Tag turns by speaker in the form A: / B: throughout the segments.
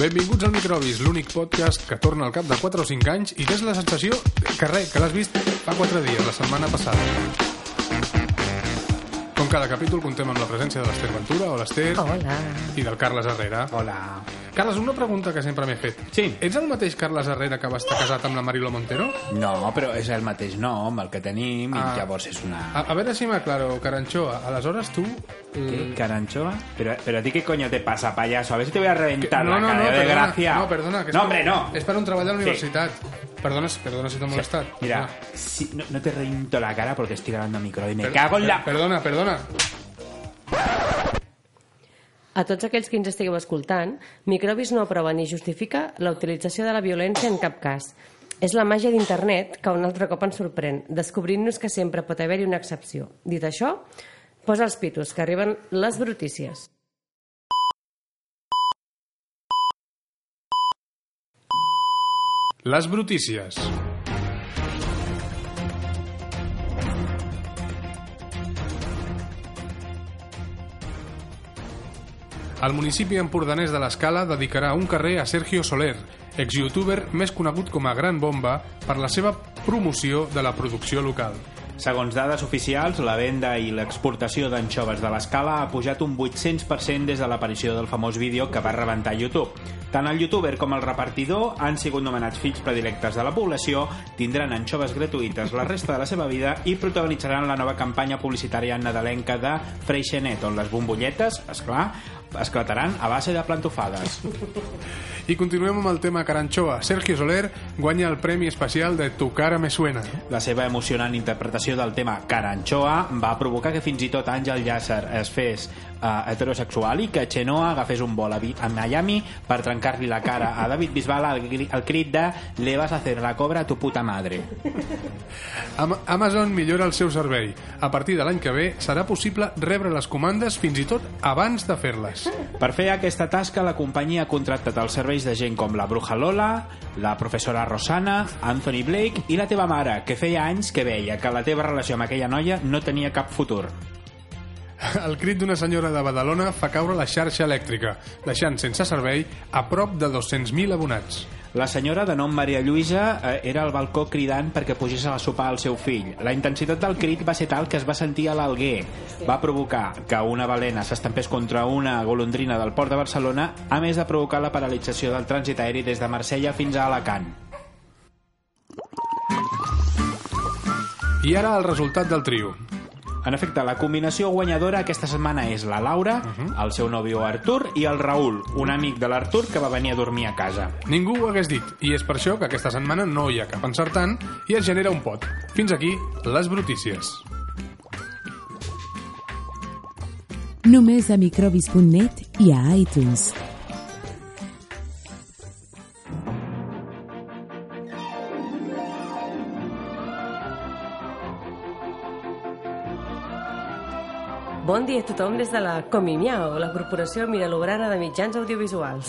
A: Benvinguts al Microbis, l'únic podcast que torna al cap de 4 o 5 anys i que és la sensació que res, que l'has vist fa 4 dies, la setmana passada. Com cada capítol contem amb la presència de l'Ester Ventura, o l'Ester,
B: Hola.
A: i del Carles Herrera.
C: Hola.
A: Carles, una pregunta que sempre m'he fet.
C: Sí.
A: Ets el mateix Carles Herrera que va estar casat amb la Marilo Montero?
C: No, però és el mateix nom, el que tenim, ah.
A: Ah.
C: i llavors és una...
A: A, a veure si m'aclaro, Caranxoa, aleshores tu...
C: ¿Qué?
A: eh,
C: ¿Caranchoa? Pero, pero a ti qué coño te pasa, payaso? A ver si te voy a
A: que-
C: reventar la cara, de
A: perdona,
C: gracia.
A: No, perdona. Que és per-
C: no, hombre, no.
A: És per un treball a la
C: Sí.
A: universitat. Perdona, si- perdona si t'he molestat.
C: Mira,
A: Ah.
C: si- no, no te reviento la cara porque estoy grabando a micro y me
A: Per-
C: cago en
A: per-
C: la...
A: Perdona, perdona.
B: A tots aquells que ens estigueu escoltant, Microbis no aprova ni justifica la utilització de la violència en cap cas. És la màgia d'internet que un altre cop ens sorprèn, descobrint-nos que sempre pot haver-hi una excepció. Dit això, posa els pitos, que arriben les brutícies.
A: Les brutícies. El municipi empordanès de l'Escala dedicarà un carrer a Sergio Soler, ex-youtuber més conegut com a Gran Bomba per la seva promoció de la producció local.
C: Segons dades oficials, la venda i l'exportació d'anxoves de l'escala ha pujat un 800% des de l'aparició del famós vídeo que va rebentar YouTube. Tant el youtuber com el repartidor han sigut nomenats fills predilectes de la població, tindran anxoves gratuïtes la resta de la seva vida i protagonitzaran la nova campanya publicitària nadalenca de Freixenet, on les bombolletes, esclar, esclataran a base de plantofades.
A: I continuem amb el tema Caranxoa. Sergio Soler guanya el premi especial de Tu cara me suena.
C: La seva emocionant interpretació del tema Caranxoa va provocar que fins i tot Àngel Llàcer es fes eh, heterosexual i que Chenoa agafés un vol a, Vi- a Miami per trencar-li la cara a David Bisbal al, gri- al crit de «Le vas a hacer la cobra a tu puta madre».
A: Am Amazon millora el seu servei. A partir de l'any que ve serà possible rebre les comandes fins i tot abans de fer-les.
C: Per fer aquesta tasca, la companyia ha contractat els serveis de gent com la Bruja Lola, la professora Rosana, Anthony Blake i la teva mare, que feia anys que veia que la teva relació amb aquella noia no tenia cap futur.
A: El crit d'una senyora de Badalona fa caure la xarxa elèctrica, deixant sense servei a prop de 200.000 abonats.
C: La senyora de nom Maria Lluïsa eh, era al balcó cridant perquè pugés a sopar el seu fill. La intensitat del crit va ser tal que es va sentir a l'Alguer. Va provocar que una balena s'estampés contra una golondrina del port de Barcelona, a més de provocar la paralització del trànsit aeri des de Marsella fins a Alacant.
A: I ara el resultat del trio.
C: En efecte, la combinació guanyadora aquesta setmana és la Laura,
A: Mhm.
C: el seu nòvio Artur i el Raül, un amic de l'Artur que va venir a dormir a casa.
A: Ningú ho hagués dit, i és per això que aquesta setmana no hi ha cap encertant i es genera un pot. Fins aquí, les brutícies.
D: Només a microbis.net i a iTunes.
B: Bon dia a tothom des de la Comimiao, la corporació Miralobrana de mitjans audiovisuals.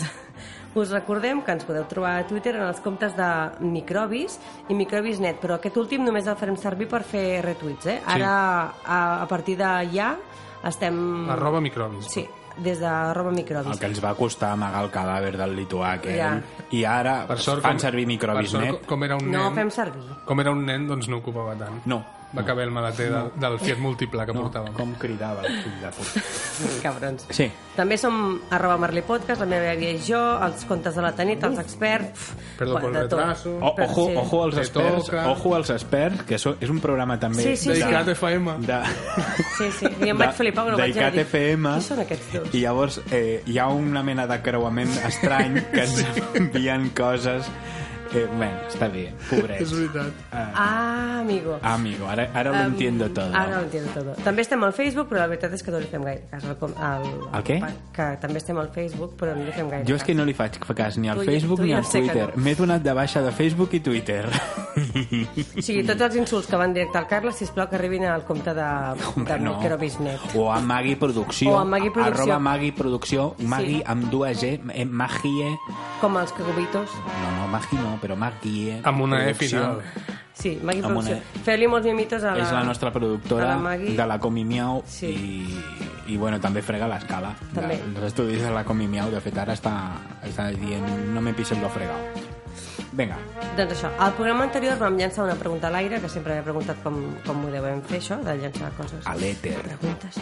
B: Us recordem que ens podeu trobar a Twitter en els comptes de Microbis i Microbis.net, però aquest últim només el farem servir per fer retuits, eh? Ara, a, a partir de ja, estem...
A: Arroba microbis.
B: Sí, des de arroba
C: El
B: Microbis.
C: que ens va costar amagar el cadàver del lituà aquell.
B: Ja.
C: I ara
A: Per sort,
C: fan servir eh?
A: per sort,
C: microbis.net.
A: com- Com era un
B: No
A: nen,
B: fem servir.
A: com era un nen, doncs no ocupava tant.
C: No.
A: Va caber el maleter del, del Fiat múltiple que
C: No,
A: portàvem.
C: com cridava el fill de puta.
B: Cabrons.
C: Sí.
B: També som arroba Merlí Podcast, la meva àvia i jo, els contes de la Tanit, els experts... pf,
A: Perdó
B: bueno,
A: pel
B: de tot.
A: retraso.
C: O,
B: Però
C: ojo,
B: sí.
C: ojo als
A: Te
C: experts,
A: toca.
C: ojo als experts, que so, és un programa també
B: Sí, sí,
A: Dedicat a FM.
C: de,
B: Sí, sí, jo em vaig flipar quan ho vaig
C: d'ICAT
B: dir.
C: FM.
B: Qui són aquests dos?
C: I llavors eh, hi ha una mena de creuament estrany que ens envien coses... Eh, bé, està bé, pobrets.
A: És veritat.
B: Ah, amigo.
C: Amigo, ara, ara lo entiendo todo.
B: Ara ho entiendo todo. També estem al Facebook, però la veritat és que no li fem gaire cas. al com- al-
C: Al què?
B: Que també estem al Facebook, però no li fem gaire
C: Jo és que
B: cas.
C: no li faig cas ni al
B: Tu ja-
C: Facebook
B: tu
C: ni
B: ja
C: al
B: sé que
C: Twitter.
B: no.
C: M'he donat de baixa de Facebook i Twitter.
B: O sigui, tots els insults que van directe al Carles, sisplau, que arribin al compte de, de Microbisnet.
C: O a Magui Producció.
B: O a Magui Producció.
C: Arroba Magui Producció. Magui
B: Sí.
C: amb dues G. eh, Magie.
B: Com els cagobitos.
C: No, no, Magui no, però Magie.
A: Amb una E
C: Producció.
A: final.
B: Sí, Magui
C: Amb una-
B: Producció. Feu-li molts mimitos a la...
C: És la nostra productora
B: a la Magui.
C: de la Comi Miau
B: Sí.
C: i i bueno, també frega l'escala.
B: També.
C: De- Els estudis de la Comi Miau, de fet, ara està, està dient no me pisen lo fregado. Vinga,
B: Doncs això, al programa anterior vam llançar una pregunta a l'aire, que sempre he preguntat com, com ho devem fer, això, de llançar coses.
C: a l'èter.
B: preguntes.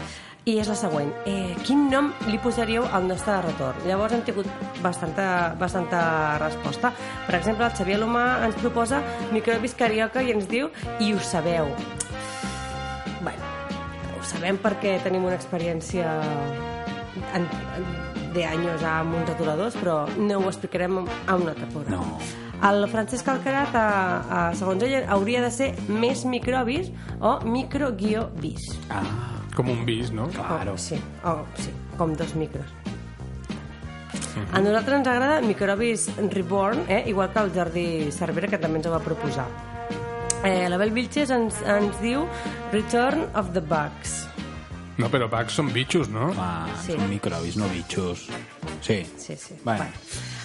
B: I és la següent. Eh, quin nom li posaríeu al nostre retorn? Llavors hem tingut bastanta, bastanta resposta. Per exemple, el Xavier Lomà ens proposa microbis carioca i ens diu i ho sabeu. bueno, ho sabem perquè tenim una experiència en, en, de anys amb uns aturadors, però no ho explicarem a un altre programa.
C: No.
B: El Francesc Alcarat, a, a, segons ell, hauria de ser més microbis o micro-bis.
C: Ah,
A: Com un bis, no?
C: claro.
B: Oh, sí, oh, sí, com dos micros.
C: Mhm.
B: A nosaltres ens agrada Microbis Reborn, eh? igual que el Jordi Cervera, que també ens ho va proposar. Eh, la Bel Vilches ens, ens diu Return of the Bugs.
A: No, però Pax són bitxos, no?
C: Ah,
B: Sí.
C: són microbis, no bitxos. Sí.
B: Sí, sí.
C: Vale.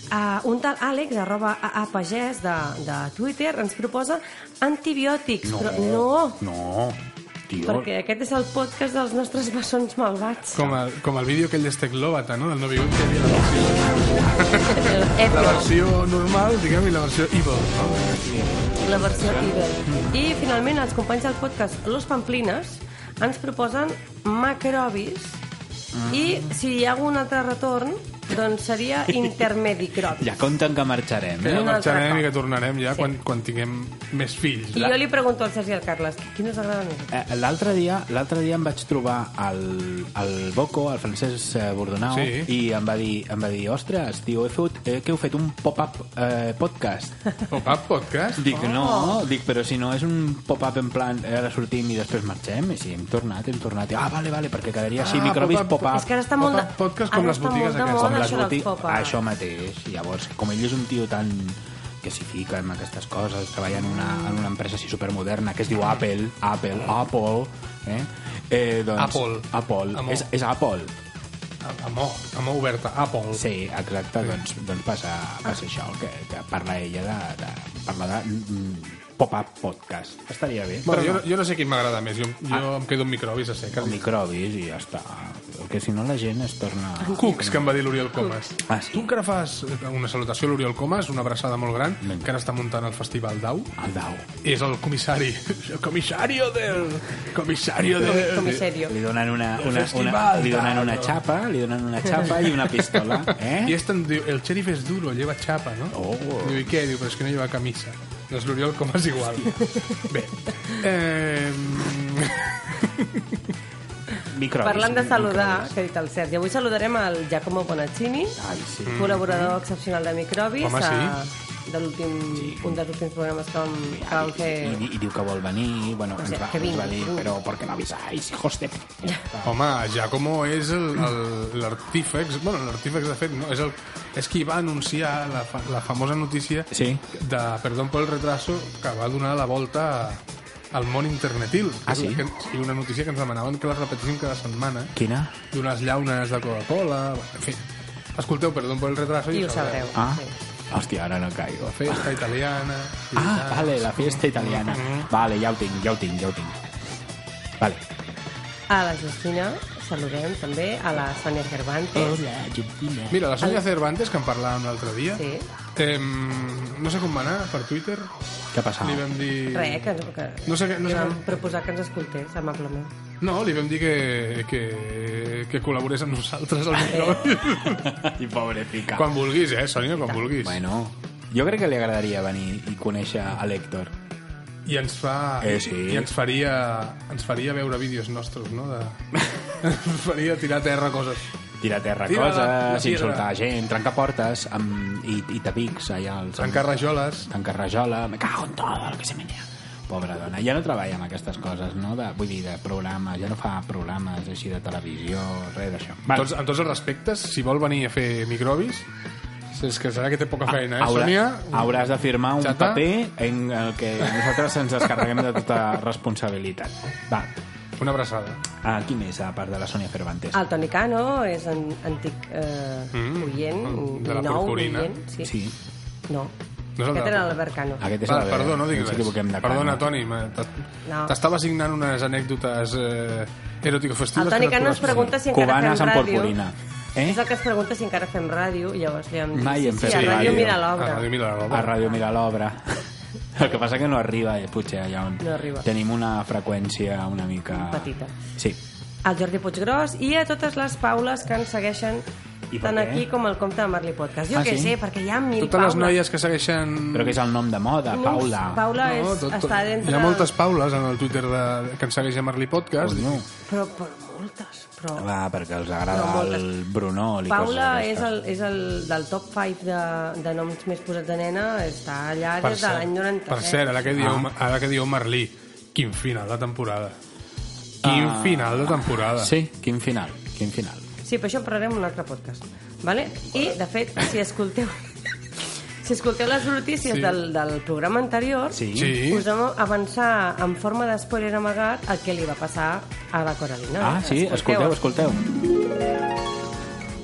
B: Uh, un tal Àlex, arroba a, a pagès de, de Twitter, ens proposa antibiòtics.
C: No.
B: Però no,
C: No. Tio,
B: perquè aquest és el podcast dels nostres bessons malvats.
A: Com el, com el vídeo aquell d'Esteclòbata, no? Del nouvingut que hi havia la versió, la
B: Etio.
A: versió normal, diguem, i la versió evil, no?
B: la versió Evil. I finalment els companys del podcast Los Pamplines ens proposen macrobis i si hi ha algun altre retorn doncs seria intermedicrobi.
C: Ja compten que marxarem,
A: Que
C: eh?
A: ja
B: Un altre
A: marxarem
B: cop.
A: i que tornarem ja
B: Sí.
A: quan, quan tinguem més fills.
B: I jo li pregunto al Sergi i al Carles, quin us agrada més?
C: Eh, L'altre dia, l'altre dia em vaig trobar al, al Boco, al Francesc eh, Bordonau,
A: Sí.
C: i em va dir, em va dir ostres, tio, he fet, eh, que heu fet un pop-up eh, podcast.
A: Pop-up Oh, podcast?
C: Dic,
A: Oh.
C: no, dic, però si no és un pop-up en plan, eh, ara sortim i després marxem, i si hem tornat, hem tornat. I, ah, vale, vale, perquè quedaria així,
A: Ah,
C: microbis
A: pop-up.
C: pop-up.
B: És que ara està molt de...
A: Pop-up podcast com
B: ara
A: les
B: està
A: botigues
B: molt de
A: aquestes,
B: moda,
A: com les Ah,
B: això dels
C: boti-
B: pop-up.
C: Això mateix. Llavors, com ell és un tio tan que s'hi fica en aquestes coses, treballa en una, en una empresa així supermoderna que es diu Apple, Apple, Apple, eh? eh doncs,
A: Apple.
C: Apple.
A: Amor.
C: És, és Apple.
A: A- A mà, a mà oberta, Apple.
C: Sí, exacte. Doncs, doncs passa, passa això, que, que parla ella de... de parla de mm, pop-up podcast. Estaria bé.
A: Bueno,
C: però
A: jo,
C: no.
A: no- jo no sé quin m'agrada més, jo, jo
C: Ah.
A: em quedo amb microbis a seques.
C: O microbis i ja està. Perquè si no la gent es torna...
A: Cucs, que em va dir l'Oriol Comas.
C: Ah, sí.
A: Tu encara fas una salutació a l'Oriol Comas, una abraçada molt gran,
C: Vinga.
A: que ara està muntant el Festival Dau.
C: El dau.
A: És el comissari. El comissario del... Comissario del...
B: Com és sèrio.
C: Li donen una, una, una,
A: Festival,
C: li donen una
A: tal.
C: xapa, li donen una xapa i una pistola,
A: I
C: eh?
A: este em diu, el xèrif és duro, lleva xapa, no?
C: Oh.
A: Diu, i què? Diu, però és que no lleva camisa. Doncs l'Oriol com és igual. Bé. Eh...
C: Microbis.
B: Parlant de saludar,
C: microbis.
B: que ha dit el Sergi, avui saludarem el Giacomo Bonaccini,
C: Ai, sí.
B: col·laborador excepcional de Microbis,
A: Mm. Home, sí.
B: a, de l'últim, un dels últims programes que vam, que vam
C: I,
B: fer...
C: i, I diu que vol venir, bueno,
B: O
C: ens
B: sea,
C: va,
B: que
C: ens va
B: vingui.
C: dir, però per què no avisáis, hijos de...
A: Home, Giacomo és el- el- l'artífex... Bueno, l'artífex, de fet, no, és, el, és qui va anunciar la, fa, la famosa notícia
C: Sí.
A: de Perdón por el retraso, que va donar la volta al món internetil.
C: Ah, sí?
A: Que, sí, una notícia que ens demanaven que la repetíssim cada setmana.
C: Quina?
A: d'unes llaunes de Coca-Cola... bueno, En fi, escolteu, perdón por el retraso
B: I ho sabreu.
C: Ah,
B: Sí.
C: hòstia, ara no caigo.
A: La festa italiana...
C: Ah, vale, la fiesta italiana.
A: Mm-hmm.
C: Vale, ja ho tinc, ja ho tinc, ja ho tinc. Vale.
B: A la Justina saludem també, a la Sònia Cervantes.
C: Hola, Argentina.
A: Mira, la Sonia Cervantes, que en parlàvem l'altre dia,
B: Sí.
A: eh, no sé com va anar, per Twitter,
C: Què ha passat?
A: li vam dir...
B: Res, eh, que, que,
A: No sé què- no
B: que
A: sé
B: vam
A: què-
B: proposar que ens escoltés, amablement.
A: No, li vam dir que, que, que col·laborés amb nosaltres al micro.
C: I pobre fica.
A: quan vulguis, eh, Sònia, quan vulguis.
C: Bueno, jo crec que li agradaria venir i conèixer a l'Hèctor.
A: I ens fa...
C: Eh, sí.
A: I ens faria, ens faria veure vídeos nostres, no? De... ens faria tirar a terra coses.
C: Tirar a terra
A: Tira la- la
C: coses,
A: pedra.
C: insultar gent, trencar portes amb, i, i tapics allà. Als,
A: Trencar rajoles.
C: Tancar rajola, me cago en todo el que se me niega. Pobra dona, ja no treballa amb aquestes coses, no? De, vull dir, de programes, ja no fa programes així de televisió, res d'això. Vale.
A: Tots, en tots els respectes, si vol venir a fer microbis, és que serà que té poca feina, eh,
C: Ah, Haurà- Ah.
A: Sònia?
C: hauràs de firmar un
A: Xata.
C: paper en el que nosaltres ens descarreguem de tota responsabilitat. Va,
A: Una abraçada.
C: ah, qui més, a part de la Sònia Cervantes?
B: El Toni Cano és an antic eh,
A: Mm.
B: oient,
A: Mm, de la
B: nou
A: purpurina.
B: oient. Sí.
C: Sí.
B: No,
A: No és el
B: Aquest
A: d'Apple.
B: era l'Albert Cano.
C: Aquest és
A: Va,
C: el de-
A: perdó, no dic
C: ens
A: res.
C: equivoquem de cara,
A: Perdona,
C: no?
A: Toni, me- t'es-
B: No.
A: t'estava assignant unes anècdotes eh, eròtico-festives...
B: El Toni
A: que no et
B: Cano ens
A: corresponen.
B: pregunta si encara
C: Cubanes
B: fem
C: amb
B: ràdio.
C: porpurina. Eh?
B: És el que es pregunta si encara fem ràdio, i llavors li vam dir,
C: Mai
B: sí,
C: hem
B: sí,
C: fet
B: a ràdio
C: ràdio.
B: mira
A: Ah,
B: l'obra.
A: ràdio mira l'obra.
C: A Ràdio Mira l'Obra. El que passa que no arriba, eh, potser, allà on
B: No arriba.
C: tenim una freqüència una mica...
B: Petita.
C: Sí.
B: Al Jordi Puiggrós i a totes les paules que ens segueixen
C: I per
B: tant
C: què?
B: aquí com al compte de Marley Podcast. Jo
C: Ah,
B: què
C: sí?
B: sé, perquè hi ha mil
A: Totes les
B: paules.
A: noies que segueixen...
C: Però que és el nom de moda,
B: No,
C: Paula.
B: Mm. Paula és,
A: tot- tot-
B: està dintre...
A: Hi ha moltes
B: del-
A: paules en el Twitter de, que ens segueix a Marley Podcast.
C: Coño.
B: Però, però moltes, però...
C: Va, perquè els
B: Però
C: agrada
B: moltes.
C: el Bruno. i
B: Paula
C: coses
B: és
C: d'aquestes.
B: el, és el del top 5 de, de noms més posats de nena, està allà
A: Per
B: des de
A: cert-
B: l'any eh? 97.
A: Per cert, ara que
C: Ah.
A: dieu, ara que dieu Marlí, quin final de temporada. Quin
C: Ah.
A: final de temporada.
C: Sí, quin final, quin final.
B: Sí, però això en parlarem en un altre podcast. Vale? I, de fet, si escolteu... Si escolteu les brutícies
A: Sí.
B: sí. del, del programa anterior,
C: Sí.
A: Sí.
B: us vam avançar en forma d'espoiler amagat el que li va passar a la Coralina.
C: Ah, sí, escolteu, escolteu.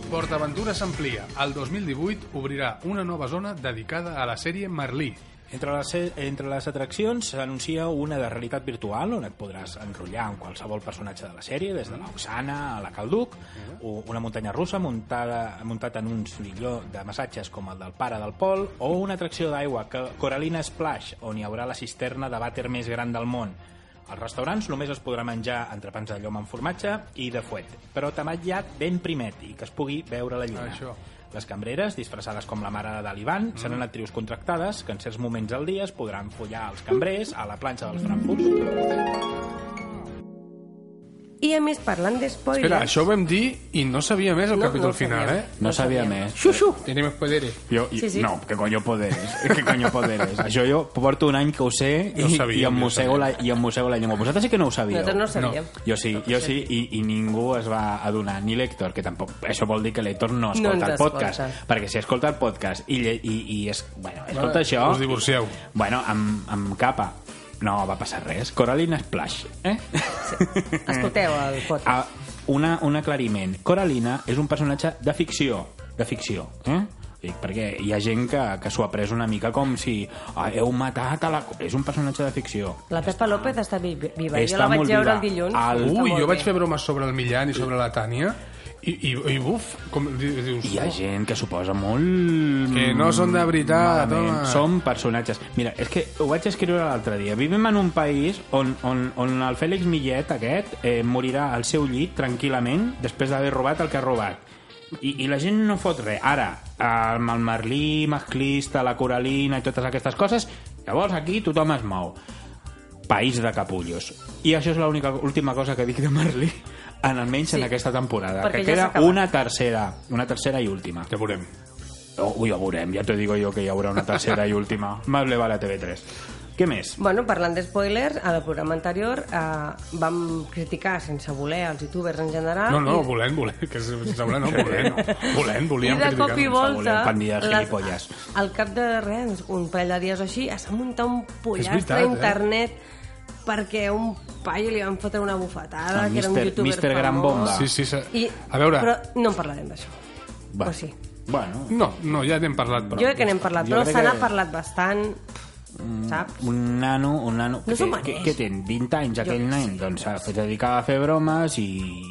A: PortAventura s'amplia. El 2018 obrirà una nova zona dedicada a la sèrie Marlí.
C: Entre les, entre les atraccions s'anuncia una de realitat virtual on et podràs enrotllar amb qualsevol personatge de la sèrie, des de la Oxana a la Calduc, o una muntanya russa muntada, muntat en un silló de massatges com el del pare del Pol, o una atracció d'aigua, que- Coralina Splash, on hi haurà la cisterna de vàter més gran del món. Als restaurants només es podrà menjar entrepans de llom amb formatge i de fuet, però tamallat ben primet i que es pugui veure la lluna.
A: Això.
C: Les cambreres, disfressades com la mare de l'Ivan, seran actrius contractades que en certs moments del dia es podran follar als cambrers a la planxa dels Frankfurts.
B: I a més, parlant d'espoilers...
A: Espera, això ho vam dir i no sabia més el
B: No, no
A: capítol
B: ho
A: final,
B: sabíem.
A: eh?
C: No sabia més.
B: Xuxu!
A: Tenim poderes.
C: Jo,
B: Sí, sí. no,
C: que coño poderes. que coño poderes. Això jo porto un any que ho sé i,
A: No ho sabíem,
C: i, em
A: no ho
C: mossego la,
A: sabíem.
C: i em mossego la llengua. Vosaltres sí que no ho sabíeu.
B: Nosaltres no ho sabíem. No.
C: Jo sí, jo sí, i, i ningú es va adonar, ni l'Hèctor, que tampoc... Això vol dir que l'Hèctor
B: No
C: no escolta
B: ens
C: el podcast.
B: escolta.
C: Perquè si escolta el podcast i, lle- i, i es, bueno, escolta
A: Va,
C: això...
A: us divorcieu.
C: Bueno, amb, amb capa. No va passar res. Coraline Splash, eh?
B: Escolteu el podcast.
C: Ah, una, un aclariment. Coralina és un personatge de ficció. De ficció, eh? Dic, perquè hi ha gent que, que s'ho ha pres una mica com si ah, heu matat a la... Co-". És un personatge de ficció.
B: La Pepa López està vi- viva.
C: Està
B: jo la vaig
C: molt
B: veure
C: viva.
B: el dilluns.
C: Al-
B: Està
A: Ui,
B: molt
A: jo vaig
B: bé.
A: fer bromes sobre el Millan i sobre la Tània i, i, i buf, com di- dius...
C: Hi ha gent que s'ho posa molt...
A: Que no són de veritat,
C: malament.
A: home.
C: Som personatges. Mira, és que ho vaig escriure l'altre dia. Vivim en un país on, on, on el Fèlix Millet, aquest, eh, morirà al seu llit tranquil·lament després d'haver robat el que ha robat. I, I la gent no fot res. Ara, amb el Merlí, masclista, la Coralina i totes aquestes coses, llavors aquí tothom es mou. País de capullos. I això és l'única última cosa que dic de Merlí, en almenys sí, en aquesta temporada,
B: perquè ja
C: que
B: s'ha
C: queda
B: acabat.
C: una tercera, una tercera i última.
A: Ja veurem.
C: Oh, ja veurem, ja te digo yo que hi haurà una tercera i última. Más le vale a TV3. Què més?
B: Bueno, parlant d'espoilers, al programa anterior eh, vam criticar sense voler els youtubers en general
A: No, no,
B: Ah, i-
A: volent, volent, que sembla no, volent, no. volent,
B: I
A: volíem
B: de cop i
A: criticar-nos.
B: volta,
C: volem pandillar
B: les-
C: gilipolles.
B: al cap de res, un parell de dies o així, es va muntar un pollastre
A: veritat,
B: a
A: eh?
B: internet perquè a un paio li van fotre una bufetada,
C: El
B: que era un
C: Mr.
B: youtuber
C: Mr. Gran
B: famós.
C: Bomba.
A: Sí, sí, se-
B: I,
A: a veure...
B: Però no en parlarem d'això. O
C: Va.
B: sí.
C: Bueno,
A: No, no, ja n'hem parlat prou.
B: Jo crec que n'hem parlat,
C: Jo
B: però
C: crec
B: se n'ha
C: que-
B: parlat bastant, saps?
C: un nano, un nano...
B: No s'ho
C: que,
B: mereix.
C: que, que té 20 anys aquell
B: Jo-
C: nen, doncs s'ha fet dedicar a fer bromes i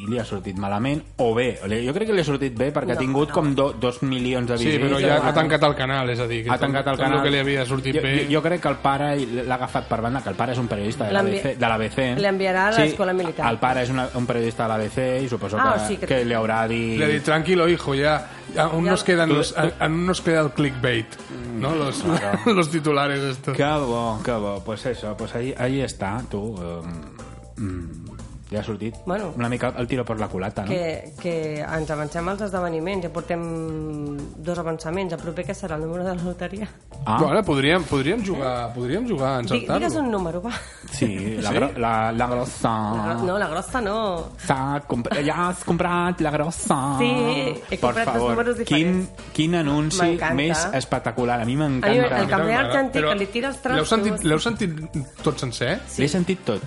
C: li ha sortit malament, o bé, li- jo crec que li ha sortit bé perquè
B: No,
C: ha tingut
B: no.
C: com do, dos milions de
A: Sí,
C: visites.
A: però ja
C: o-
A: ha tancat el canal, és a dir, que
C: ha tancat el
A: tot
C: canal.
A: el que li havia sortit
C: jo,
A: bé...
C: Jo, jo crec que el pare i l'ha agafat per banda, que el pare és un periodista de
B: L'envi-
C: l'ABC. de l'ABC.
B: l'enviarà a l'escola militar.
C: El pare és una, un periodista de l'ABC i suposo
B: Ah,
C: que,
B: o sigui que-
C: que li haurà dit...
A: Le di, tranquilo, hijo, ya. Aún
B: Ya-
A: nos quedan
C: Tú-
A: los,
C: tú-
A: a- aún nos queda el clickbait, ¿no? Los, los titulares estos.
C: Que bo, que bo. Pues eso, pues ahí, ahí està, tu. Um, mm, ja ha sortit
B: Bueno.
C: una mica el tiro per la culata, no?
B: que, que ens avancem als esdeveniments, ja portem dos avançaments, el proper que serà el número de la loteria.
C: Ah,
A: Bueno, podríem, podríem jugar, podríem jugar a
B: Di- Digues
A: encertar-lo.
B: un número, va.
C: sí, la,
A: Sí?
C: gro- la, la grossa.
B: No, la grossa no.
C: S'ha comp ja has comprat la grossa.
B: Sí, he comprat dos números
C: quin,
B: diferents.
C: quin anunci
B: M'encanta.
C: més espectacular. A mi
B: A mi el
C: m'encanta.
B: camp- També argentí, que li tira els trastos.
A: L'heu sentit, l'heu sentit tot sencer?
C: L'he sentit tot.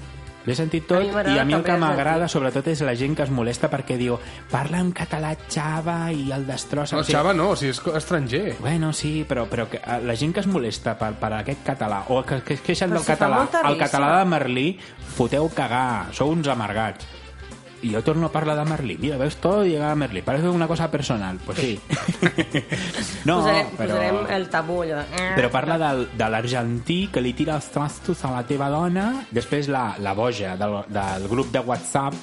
C: L'he sentit
B: A
C: tot
B: mi m'agrada
C: i a mi el
B: també
C: que
B: el
C: m'agrada
B: sentit.
C: sobretot és la gent que es molesta perquè diu parla en català xava i el destrossa.
A: El Xava no, si és co- estranger.
C: Bueno, sí, però, però que, eh, la gent que es molesta per, per aquest català o que, que es queixen
B: Però
C: del
B: si fa
C: català,
B: molta
C: el
B: risa.
C: català de Merlí, foteu cagar, sou uns amargats. I jo torno a parlar de Merlí. Mira, veus, todo llega a Merlí. Parece una cosa personal. Pues sí. no,
B: posarem,
C: però...
B: posarem eh, el tabú allò. de- "Ah".
C: Però parla del, de l'argentí que li tira els trastos a la teva dona, després la, la boja del, del grup de WhatsApp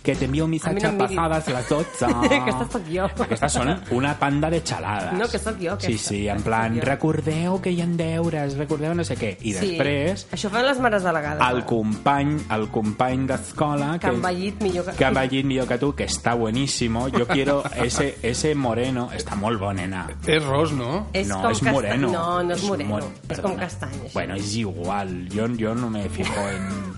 C: que t'envia un
B: A
C: missatge
B: mi no em miris.
C: passades les 12.
B: Aquesta sóc jo.
C: Aquestes són una panda de xalades.
B: No, que sóc jo, aquesta.
C: Sí, sí, en
B: Aquesta
C: plan,
B: sóc jo.
C: recordeu que hi ha deures, recordeu no sé què. I
B: Sí.
C: després,
B: Això fan les mares delegades.
C: el company, el company d'escola...
B: Que han ballit millor que...
C: que ha ballit millor que tu, que està buenísimo. Yo quiero ese, ese moreno. Està molt bo, nena.
A: És ros, no?
B: És
C: no,
B: com
C: és
B: casta-
C: moreno.
B: No, no és moreno.
C: mor-
B: És com castany, això.
C: Bueno, és igual. Jo, jo no me fijo en...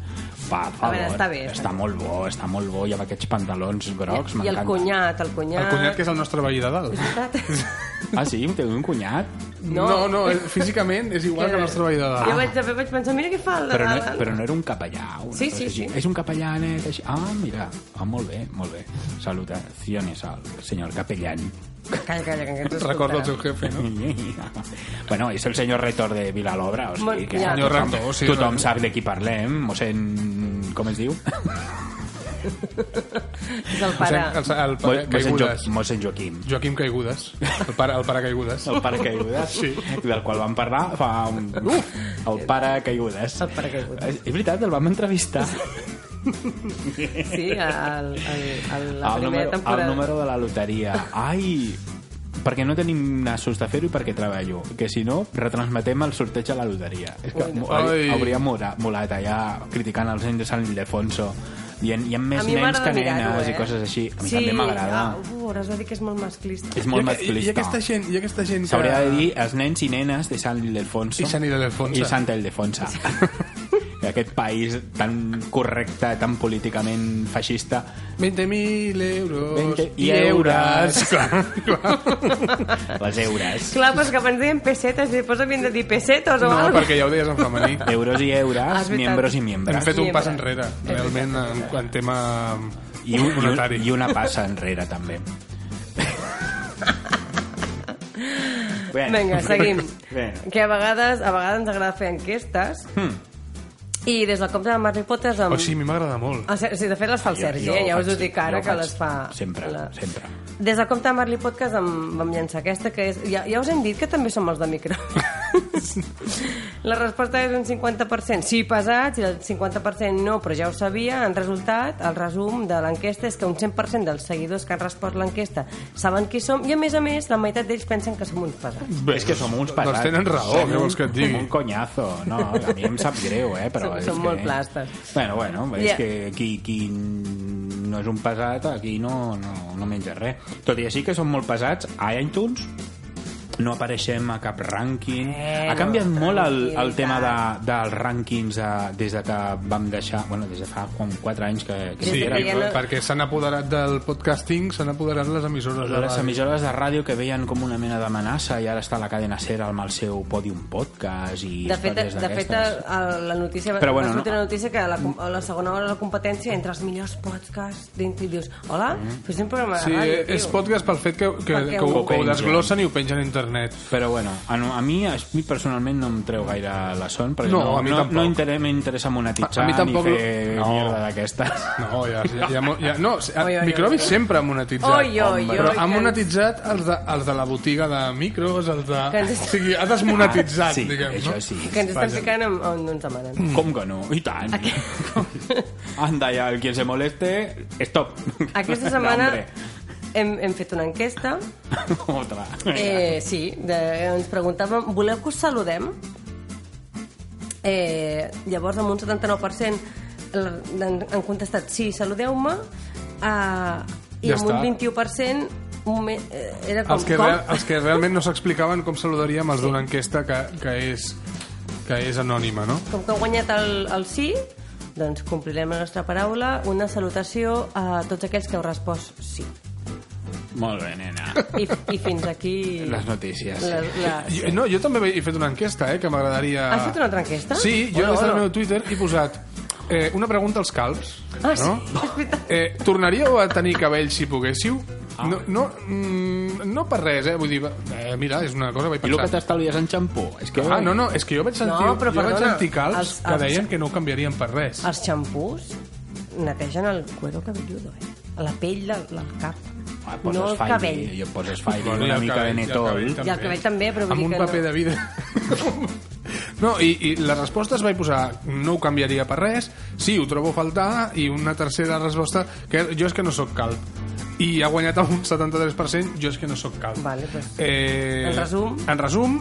C: Va,
B: A veure, està bé, està
C: Està molt bo, està molt bo. I amb aquests pantalons
B: I
C: grocs,
B: el
C: m'encanta.
B: cunyat, el cunyat...
A: El cunyat que és el nostre veí de dalt.
C: Ah, sí? Té un cunyat?
A: No,
B: No.
A: no, eh, físicament és igual que el nostre veí de
B: Jo
A: dalt.
B: vaig, de- vaig pensar, mira què fa el de
C: Però no,
B: dalt.
C: però no era un capellà. una
B: Sí,
C: cosa
B: sí,
C: així.
B: sí.
C: És un capellanet així. Ah, mira. Ah, molt bé, molt bé. Salutaciones al senyor capellán.
B: Calla, calla, que ens
A: Recordo el
B: escoltarà.
A: seu jefe, no?
C: bueno, és el senyor Retor de Vilalobra, o sigui,
B: Bueno,
C: que
B: ja.
A: Senyor
C: tothom,
A: Rector, sí,
C: tothom
A: realment.
C: sap de qui parlem, mossèn... com es diu?
B: És el pare.
A: Mossèn, el, el pare
C: Mossèn, jo,
A: Caigudes.
C: mossèn Joaquim.
A: Joaquim Caigudes. El pare, el pare Caigudes.
C: El pare Caigudes, sí. del qual vam parlar fa un... Uf, el pare Caigudes.
B: El pare Caigudes.
C: És veritat, el vam entrevistar
B: Sí, el, el, el, la
C: al
B: primera
C: número,
B: temporada.
C: al número de la loteria. Ai, perquè no tenim nassos de fer-ho i perquè treballo. Que si no, retransmetem el sorteig a la loteria. És que mo-
A: Ai.
C: hauria mora- molat allà criticant els nens de Sant Ildefonso. Hi ha, hi ha més nens
B: m'agrada
C: que
B: mirar-ho,
C: nenes i
B: eh?
C: coses així. A mi
B: sí,
C: també m'agrada.
B: Ah, uf, hauràs de dir que és molt masclista.
C: És molt
A: I, aqu- i, I
C: masculista.
A: aquesta gent, i aquesta gent que...
C: S'hauria de dir els nens i nenes de Sant Ildefonso.
A: I Sant Ildefonso.
C: I Santa Ildefonsa. I aquest país tan correcte, tan políticament feixista.
A: 20.000 euros
C: 20
A: i euros. Clar, clar.
C: Les eures.
B: Clar, però és que abans deien pessetes i després havien de dir pessetes o
A: No,
B: alguna
A: perquè ja ho deies en femení.
C: Euros i
B: Ah,
C: eures,
B: és veritat.
C: miembros i
A: Hem
C: miembros.
A: fet un pas
B: Sí,
A: enrere, realment, en, en tema
C: I, un, i,
A: monetari.
C: un, I una passa enrere, també. Bé,
B: Vinga, seguim.
C: Bé. Hmm.
B: Que a vegades, a vegades ens agrada fer enquestes i des del compte de Mary Potter... Amb...
A: Oh, sí, a mi m'agrada molt.
B: Ah, sí, de fet, les fa el Sergi, eh? ja us ho
C: faig-
B: dic ara,
C: jo
B: que
C: faig
B: les fa...
C: Sempre,
B: la-
C: sempre.
B: Des del compte de Marley Podcast em vam llançar aquesta, que és... Ja, ja us hem dit que també som els de micro. la resposta és un 50% sí pesats i el 50% no, però ja ho sabia. En resultat, el resum de l'enquesta és que un 100% dels seguidors que han respost l'enquesta saben qui som i, a més a més, la meitat d'ells pensen que som uns pesats.
A: Bé,
C: és que som uns
A: doncs
C: pesats.
A: tenen raó,
C: Som
A: què vols que et digui?
C: Un conyazo. No, a mi em sap greu, eh? Però
B: Som-
C: és
B: som
C: que...
B: molt plastes.
C: Bueno, bueno, és
B: Ja.
C: que qui, qui no és un pesat, aquí no, no, no menja res. Tot i així que som molt pesats, a iTunes no apareixem a cap rànquing.
B: Eh,
C: ha canviat
B: no,
C: molt el, el
B: tranquil·litat.
C: tema de, dels rànquings eh, des de que vam deixar... Bueno, des de fa com 4 anys que, que
B: Des
A: Sí,
B: de
C: érem.
B: que ja no-
A: perquè s'han apoderat del podcasting, s'han apoderat les emissores. de
C: les
A: ràdio.
C: emissores de ràdio que veien com una mena d'amenaça i ara està la cadena SER amb el seu Podium Podcast i
B: De fet,
C: històries
B: de fet
C: d'aquestes.
B: a- a la notícia,
C: Però
B: Però
C: bueno,
B: bueno, va sortir
C: no.
B: una notícia que a la, com- a la segona hora de la competència entre els millors podcasts dintre i dius, hola, mm. fes un programa de
A: Sí, eh,
B: ràdio,
A: és
B: tio.
A: podcast pel fet que, que,
B: Perquè
A: que, ho,
B: ho-
A: que ho desglossen i ho pengen a internet.
C: Però bueno, a, no- a mi, a mi personalment no em treu gaire la son, perquè
A: No,
C: no,
A: a mi
C: no,
A: tampoc.
C: no inter- m'interessa monetitzar
A: A- a mi tampoc.
C: ni fer
A: No.
C: mierda d'aquestes.
A: No, ja, ja, ja, mo- ja no, s-
B: Oi, oi, oi,
A: Microbis
B: oi.
A: sempre ha monetitzat.
B: Oi, oi,
A: Però ha
B: oi, que-
A: monetitzat els de, els de la botiga de micros, els de...
B: Que ens-
A: O sigui, ha desmonetitzat,
C: Ah, sí,
A: diguem,
C: això
A: no?
C: sí.
B: Que ens estan ficant on, on no ens demanen.
C: Com que no? I tant. Anda ja, el quien se moleste, stop.
B: Aquesta setmana
C: Hombre.
B: hem, hem fet una enquesta.
C: Otra.
B: Eh, sí, de, ens preguntàvem, voleu que us saludem? Eh, llavors, amb un 79% l- han han contestat sí, saludeu-me, eh, i
A: Ja
B: amb un
A: està.
B: 21% un me- eh, era com...
A: Els que,
B: com?
A: real, els que realment no s'explicaven com saludaríem els d'una enquesta que, que, és, que és anònima, no?
B: Com que hem guanyat el, el sí, doncs complirem la nostra paraula. Una salutació a tots aquells que heu respost sí.
C: Molt bé, nena.
B: I, i fins aquí...
C: Les notícies.
B: La, la...
C: Ah,
A: Jo, no, jo també he fet una enquesta, eh, que m'agradaria...
B: Has fet una altra enquesta?
A: Sí, jo
B: Hola,
A: des del
B: hola.
A: meu Twitter he posat eh, una pregunta als calbs.
B: Ah, sí,
A: no?
B: és veritat.
A: Eh, tornaríeu a tenir cabell si poguéssiu? No, no, mm, no per res, eh? Vull dir, eh, mira, és una cosa que vaig
C: I el que eh?
A: pensar.
C: t'estalvies en xampú. És que...
A: Ah, no, no, és que jo vaig sentir,
B: No, però
A: jo vaig
B: perdona,
A: sentir calbs
B: els-
A: que
B: els-
A: deien que no ho canviarien per res.
B: Els xampús netegen el cuero cabelludo, eh? La pell del, del cap.
C: Ah, poses
B: no el
C: fairy,
B: cabell.
C: I et poses fire,
A: Bueno, i
C: una
A: el
C: mica
A: cabell,
C: de
A: i
C: eh?
A: el
C: netoll.
A: cabell
B: I el cabell també, però vull
A: amb un
B: dir que
A: paper
B: no.
A: de vida. No, i, i les respostes vaig posar no ho canviaria per res, sí, ho trobo a faltar i una tercera resposta que jo és que no sóc calb i ha guanyat amb un 73%, jo és que no sóc calb
B: Vale, pues.
A: eh,
B: En resum.
A: en resum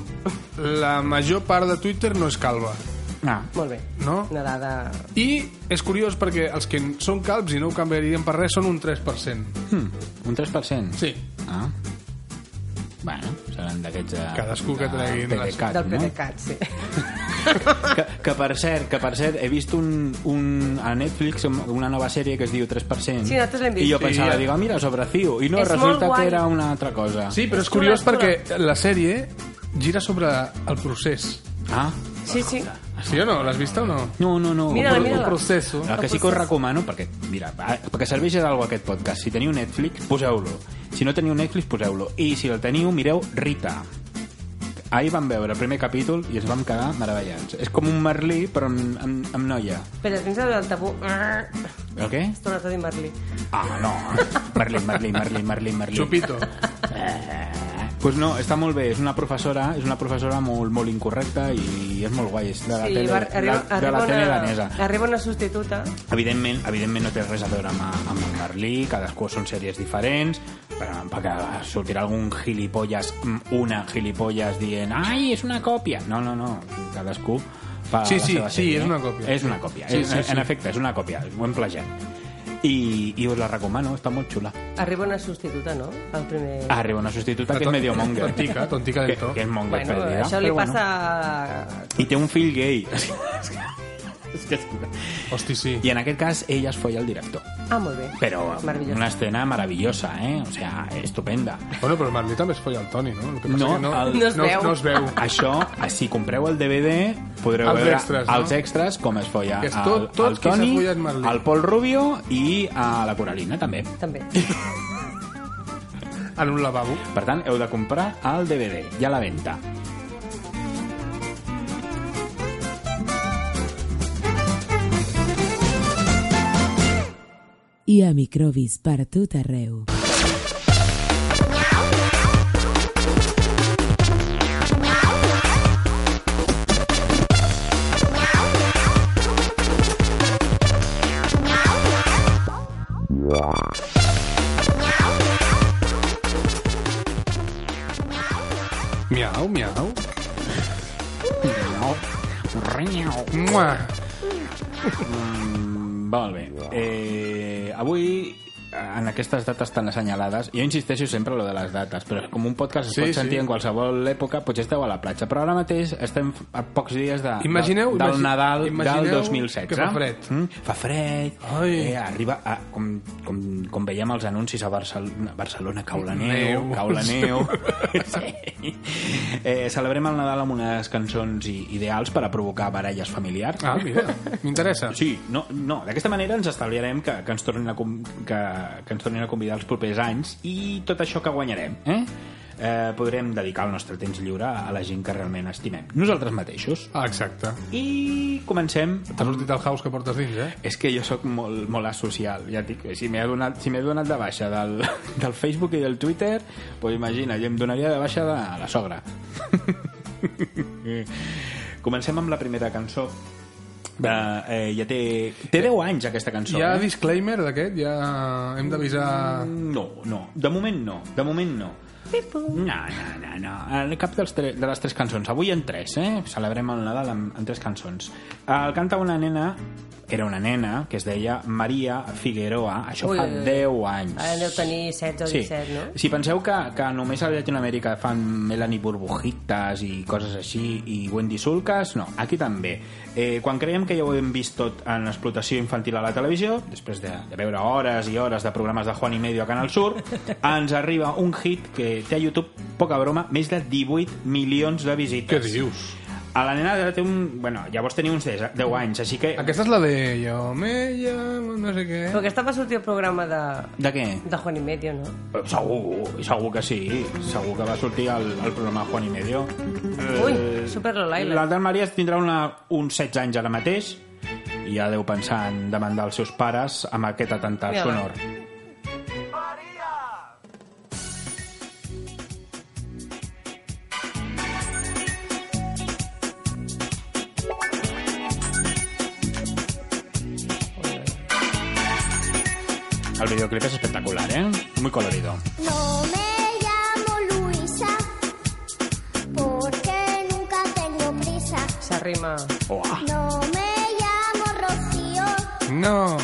A: la major part de Twitter no és calba
C: Ah,
B: Molt bé.
A: No?
B: Una dada...
A: i és curiós perquè els que són calbs i no ho canviarien per res són un 3%
C: hm, un 3%.
A: sí,
C: Ah. Bueno, seran d'aquests... eh,
A: Cadascú que
C: de
A: treguin les-
C: PDeCAT,
B: Del
C: Ah, no?
B: PDeCAT, sí.
C: que, que per cert, que per cert, he vist un, un, a Netflix una nova sèrie que es diu 3%.
B: Sí, nosaltres l'hem vist.
C: I jo
A: Sí,
C: pensava,
A: ja.
C: digue, mira, sobre CIO. I no,
B: És molt
C: resulta que
B: guai.
C: era una altra cosa.
A: sí però és
B: És una
A: curiós
B: lectura.
A: perquè la sèrie gira sobre el procés
C: Ah,
B: Sí, sí.
A: Sí o no? L'has vista o no?
C: no, no, no.
B: Mira-la,
C: Bueno,
B: mira-la.
A: El proceso.
C: El que sí que us recomano, perquè, mira, va, perquè serveix d'algo aquest podcast. Si teniu Netflix, poseu-lo. Si no teniu Netflix, poseu-lo. I si el teniu, mireu Rita. Ahir vam veure el primer capítol i ens vam quedar meravellats. És com un merlí, però amb, amb, amb noia.
B: Però tens el tabú. Ah,
C: El què?
B: Has tornat a dir Merlí.
C: Ah, no. Merlí, merlí, merlí, merlí, merlí. Eh?
A: Chupito.
C: Pues no, està molt bé, és una professora, és una professora molt, molt incorrecta i és molt guai, és de la
B: Sí,
C: tele,
B: va,
C: la,
B: arriba,
C: de la
B: arriba,
C: tele
B: una,
C: danesa.
B: arriba una substituta.
C: Evidentment, evidentment no té res a veure amb, amb el Merlí, cadascú són sèries diferents, però perquè sortirà algun gilipolles, una gilipolles dient «Ai, és una còpia!» No, no, no, cadascú fa
A: Sí,
C: la
A: sí,
C: seva
A: sí,
C: sèrie.
A: és una còpia.
C: És una còpia, sí, sí, sí. en efecte, és una còpia, ho hem plagiat. I, I us la recomano, està molt xula. Ah,
B: Arriba una substituta, no? El primer...
C: Arriba una substituta que és medio monger.
A: Tontica, tontica
C: que,
A: del tot.
C: que és monger
B: bueno,
C: perdida.
B: això li
C: però bueno.
B: passa...
C: I té un fill gay. És que- és que-
A: Hosti, sí.
C: I en aquest cas, ella es folla el director.
B: Ah, molt bé.
C: Però
B: Meravellós.
C: una escena meravellosa, eh? O sea, estupenda.
A: Bueno, però Marlí també es folla el Toni, no? El que passa
C: No,
A: que no,
C: el-
B: No es
A: no,
B: veu.
A: no es veu.
C: Això, si compreu el DVD, podreu
A: Els
C: veure
A: extras, no?
C: els extras com es folla
A: Que és
C: el-
A: tot- tot
C: el
A: qui s'ha
C: Toni,
A: follat Merlí.
C: el Pol Rubio i a la Coralina, també.
B: També.
A: En un lavabo.
C: Per tant, heu de comprar el DVD, ja a la venta.
D: I a microbis per tot arreu.
A: Miau, miau.
C: Miau. Riau.
A: Mua.
C: Mm, Molt bé. Eh, avui, en aquestes dates tan assenyalades, jo insisteixo sempre en lo de les dates, però com un podcast es
A: Sí,
C: sí, pot
A: sí.
C: sentir sí. en qualsevol època, potser esteu a la platja, però ara mateix estem a pocs dies de,
A: Imagineu-
C: del,
A: imagi-
C: del Nadal del
A: imagineu
C: 2016.
A: que fa fred.
C: Mm? Fa fred,
A: Ai.
C: eh, arriba, a, com, com, com veiem els anuncis a Barcelona, Barcelona cau la neu,
A: Neu.
C: neu. cau la neu. sí. eh, celebrem el Nadal amb unes cançons i, ideals per a provocar baralles familiars.
A: Ah, mira, m'interessa.
C: Sí, no, no. d'aquesta manera ens estalviarem que, que, ens tornin a com, que, que ens tornin a convidar els propers anys i tot això que guanyarem, eh? Eh, podrem dedicar el nostre temps lliure a la gent que realment estimem. Nosaltres mateixos.
A: Ah, exacte.
C: I comencem...
A: T'ha sortit el house que portes dins, eh?
C: És que jo sóc molt, molt asocial, ja et dic. Si m'he donat, si m'he donat de baixa del, del Facebook i del Twitter, doncs imagina, jo em donaria de baixa de la sogra. Comencem amb la primera cançó. De, eh, ja té, té 10 anys, aquesta cançó.
A: Hi ha
C: eh?
A: disclaimer d'aquest? Ja hem d'avisar...
C: Mm, No, no. De moment no. De moment no. No, no, no, no. En cap dels tre de les tres cançons. Avui en tres, eh? Celebrem el Nadal amb, amb tres cançons. El canta una nena, que era una nena, que es deia Maria Figueroa. Això
B: Ui,
C: fa
B: ui, ui.
C: 10 anys.
B: Ara deu tenir 16 o 17, no?
C: Si penseu que, que només a Llatinoamèrica fan Melanie Burbujitas i coses així, i Wendy Sulcas, no, aquí també. Eh, quan creiem que ja ho hem vist tot en explotació infantil a la televisió, després de, de veure hores i hores de programes de Juan i Medio a Canal Sur, ens arriba un hit que té a YouTube, poca broma, més de 18 milions de visites.
A: Què dius?
C: A la nena ara té un... Bueno, llavors tenia uns 10, 10 anys, així que...
A: Aquesta és la de jo me llamo no sé què.
B: Però aquesta va sortir al programa de,
C: De què?
B: de Juan y Medio, no?
C: Segur, segur que sí. Segur que va sortir al, al programa Juan i Medio.
B: Ui, super Lolaila.
C: L'Alta Maria tindrà una, uns 16 anys ara mateix i ja deu pensar en demandar els seus pares amb aquest atemptat
B: Mira-la.
C: sonor. El videoclip és espectacular, eh? Muy colorido.
E: No me llamo Luisa porque nunca tengo prisa.
B: S'arrima.
C: Uah.
E: No me llamo Rocío
A: No.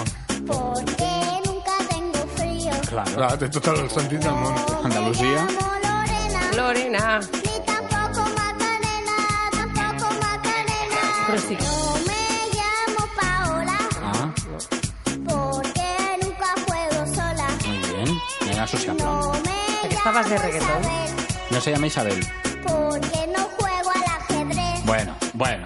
E: porque nunca tengo frío.
C: Claro.
A: Clar, té tot el sentit del món.
E: No
C: Andalucía.
E: me llamo Lorena
B: Lorena.
E: ni tampoco Macarena, tampoco
B: Però
E: Macarena.
B: sí.
E: No me llamo Paola
C: Ah,
E: porque nunca juego sola.
C: muy bien. Bien asociado.
E: No me
B: Aquesta base de
E: llamo
B: reggaetón.
E: Isabel
C: No se llama Isabel.
E: porque no juego al ajedrez.
C: Bueno, bueno.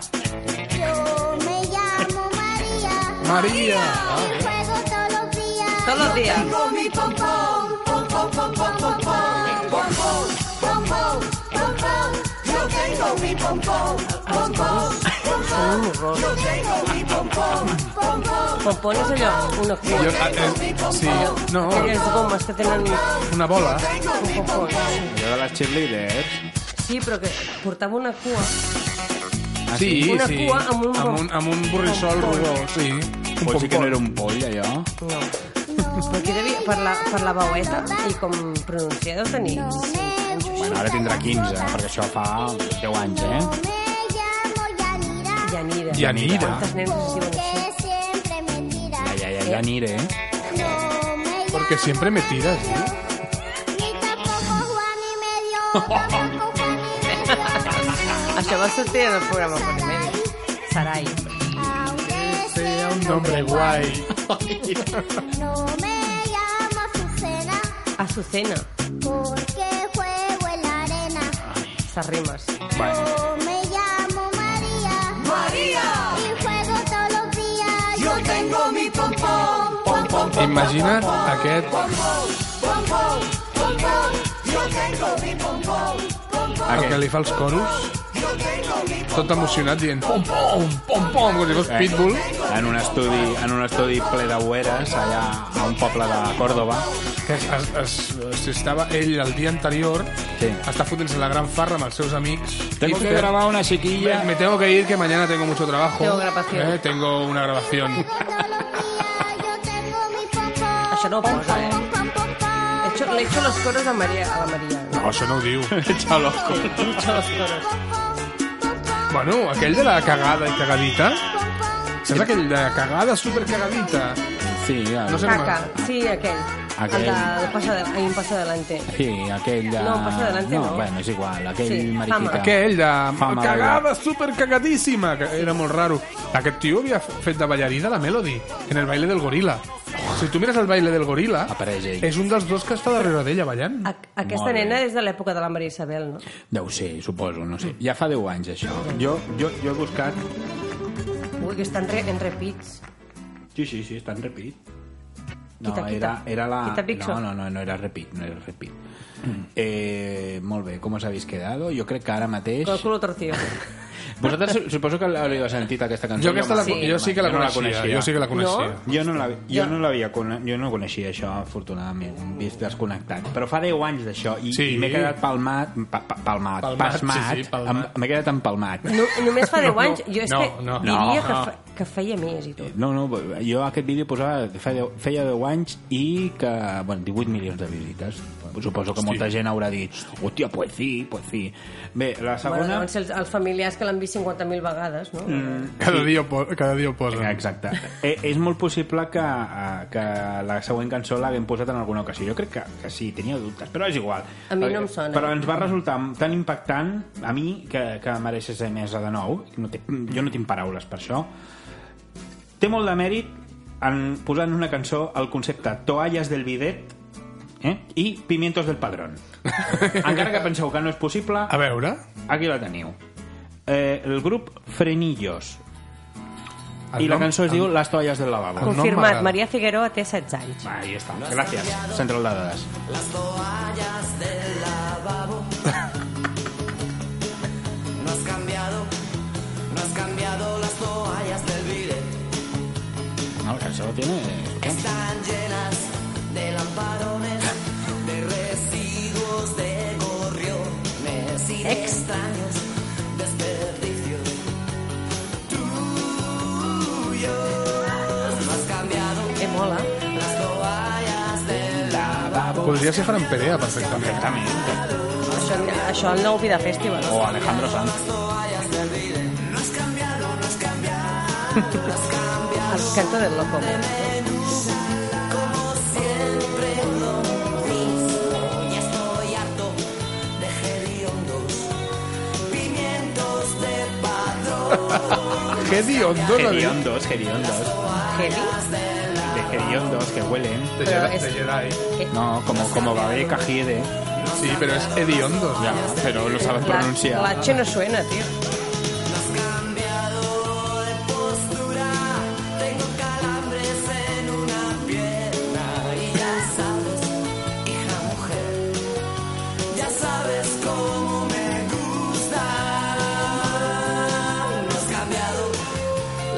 E: Yo me llamo María.
A: Maria!
E: Y juego todos los días.
B: Todos los días.
E: Yo tengo mi pompón, pom, pom, pom, pom, pom, pom, pom, pom, pom, pom, pom, pom. Yo tengo mi pompón, pom, pom, pom, pom. Yo tengo mi pompón, pom, pom.
B: Pompón és allò, un octó.
A: Jo, a, eh, sí, no,
B: Aquelles gomes que tenen un
A: una bola.
B: pompon.
C: Jo de les cheerleaders...
B: Sí, però que portava una cua.
C: Ah,
A: Sí,
B: Una
A: sí.
B: cua amb un-
A: amb un, amb un borrissol
B: pompon.
A: rodó, sí. Un
C: Pots dir que no
A: pompon.
C: era un poll, allò?
B: No. Perquè devia, per, la, per la veueta i com pronunciar deu tenir.
C: Bueno, ara tindrà 15, perquè això fa 10 anys, eh?
E: Me llamo Yanira
B: Yanira.
A: Yanira.
B: Quantes nenes es diuen
E: porque
B: així?
E: siempre me tira.
C: Ja, ja, ja, ja aniré, eh?
E: No me
A: Porque
E: llamo
A: siempre me tiras, ¿no?
E: Mario, Ni tampoco Juan y medio, tampoco Juan y medio.
B: Això va sortir en el programa Juan i Medio. Sarai.
E: Aunque
A: Sea
E: sea
A: un nombre guai.
E: No me llamo Azucena
B: Azucena.
E: porque juego en la arena.
B: S'arrimes.
C: Bueno,
E: Yo me llamo María. María. Y juego todos los días. Yo tengo mi pompón. Pom, pom, pom,
A: Imagina't aquest...
E: pom, pom, pom, pom. Yo tengo mi pompón. Pom, pom.
A: El que li fa els coros. Tot emocionat dient pom pom, pom pom, com si fos
C: eh,
A: Pitbull.
C: En un estudi, en un estudi ple de hueres, allà a un poble de Còrdoba.
A: Que es, es, es, si estava ell el dia anterior,
C: Sí.
A: està fotent-se la gran farra amb els seus amics.
C: Tengo
A: I
C: que
A: fer-
C: gravar una
A: Me,
C: chiquilla...
A: me tengo que ir, que mañana tengo mucho trabajo.
B: Tengo grabación.
A: Eh, tengo una grabación.
E: Todos los días yo tengo mi pompón.
B: Això no ho posa, eh?
E: Pom, pom, pom, pom.
B: He hecho, le he hecho los coros a, Maria, a la Maria.
A: No, això no ho diu.
C: Xalosco.
A: Bueno, aquell de la cagada i cagadita. És aquell de cagada supercagadita.
C: Sí, el,
A: No sé.
B: Caca. Sí, aquell.
C: Aquell.
B: El de passa de, ai, un passa delante.
C: sí, aquell de...
B: No, passa adelante, no.
C: bueno, és igual, aquell
B: Sí,
C: sí,
B: fama.
C: mariquita.
A: Aquell de
C: Fama
A: cagada supercagadíssima, que era molt raro. Aquest tio havia fet de ballarina la Melody, en el baile del gorila. Si tu mires el baile del gorila,
C: Apareix ell.
A: és un dels dos que està darrere d'ella ballant.
B: A, aquesta
C: Molt bé.
B: nena és de l'època de la Maria Isabel, no?
C: Deu ser, suposo, no sé. Ja fa 10 anys, això. Jo, jo, jo he buscat...
B: Ui, que estan re, en repits.
C: Sí, sí, sí, està en repeat. No,
B: Quita, quita.
C: era, era la...
B: Quita, pixo.
C: no, no, no, no era repeat, no era repeat. Eh, molt bé, com us habéis quedado? Jo crec que ara mateix...
B: Con el culo torcido.
C: Vosaltres su- suposo que l'heu sentit aquesta cançó.
A: Jo, aquesta la,
B: Sí.
A: jo sí que la
C: Jo no la
A: coneixia.
C: coneixia.
A: Jo sí que la coneixia.
B: No?
C: Jo no la, jo no l'havia cone- jo no coneixia això, afortunadament, vist desconnectat. Però fa 10 anys d'això i,
A: Sí.
C: i m'he quedat palmat, pa, pa, palmat,
A: Palmat,
C: pasmat,
A: sí, sí, palmat.
C: em- m'he quedat empalmat.
B: No, només fa 10 anys, jo és
A: no,
B: que
A: no,
B: diria
A: no,
B: que,
A: no.
B: fe, que feia més i tot.
C: No, no, jo aquest vídeo posava, que feia, feia 10 anys i que, bueno, 18 milions de visites. Suposo que molta gent haurà dit, hòstia, pues sí, pues sí. Bé, la
B: Bueno,
C: segona...
B: deuen ser els, els familiars que l'han vist 50.000 vegades, no? Mm.
A: Cada dia ho, po- cada dia ho posa.
C: Exacte. Eh, és molt possible que, eh, que la següent cançó l'haguem posat en alguna ocasió. Jo crec que, que sí, tenia dubtes, però és igual.
B: A mi no em sona.
C: Però ens va resultar tan impactant a mi que, que mereix ser mesa de nou. No té, jo no tinc paraules per això. Té molt de mèrit en posar en una cançó el concepte toalles del bidet eh? i pimientos del padrón. Encara que penseu que no és possible,
A: A veure...
C: Aquí la teniu. Eh, eh, el grup Frenillos.
A: El
C: I la
A: nom-
C: cançó es
A: el-
C: diu Les toalles del lavabo.
A: Com-
B: Confirmat,
A: m'agrada.
B: Maria Figueroa té 16 anys.
C: Ahí està. Gràcies. Central de dades.
F: Las toallas del lavabo. No has cambiado, no has cambiado las toallas del bidet.
C: No, la cançó tiene...
F: Están llenas de lamparones, de residuos de gorriones y de
B: Ex.
F: extraños desperdicios. Tuyos. No has cambiado
B: Que Eh, mola.
F: las toallas del lavabo.
A: Podria Ah, ser Fran Perea, perfectament.
C: Perfectament.
B: Això, això el nou Vida Festival.
C: O Oh, Alejandro Sanz.
B: El canto del loco.
F: Y estoy harto de hediondos pimientos de padrón.
A: Què diondo, la diu?
C: Geriondos, geriondos.
B: Heavy.
C: De geriondos que huelen.
A: De
B: Però
A: Jedi.
B: és-
A: de Jedi.
C: No, como, como Babé Cajide.
A: Sí, però és hediondo.
C: Ya, pero lo saben
B: La,
C: pronunciar.
B: la H no suena, tio.
F: Tengo calambres en una pierna y ya sabes, hija mujer, ya sabes cómo me gusta. No has cambiado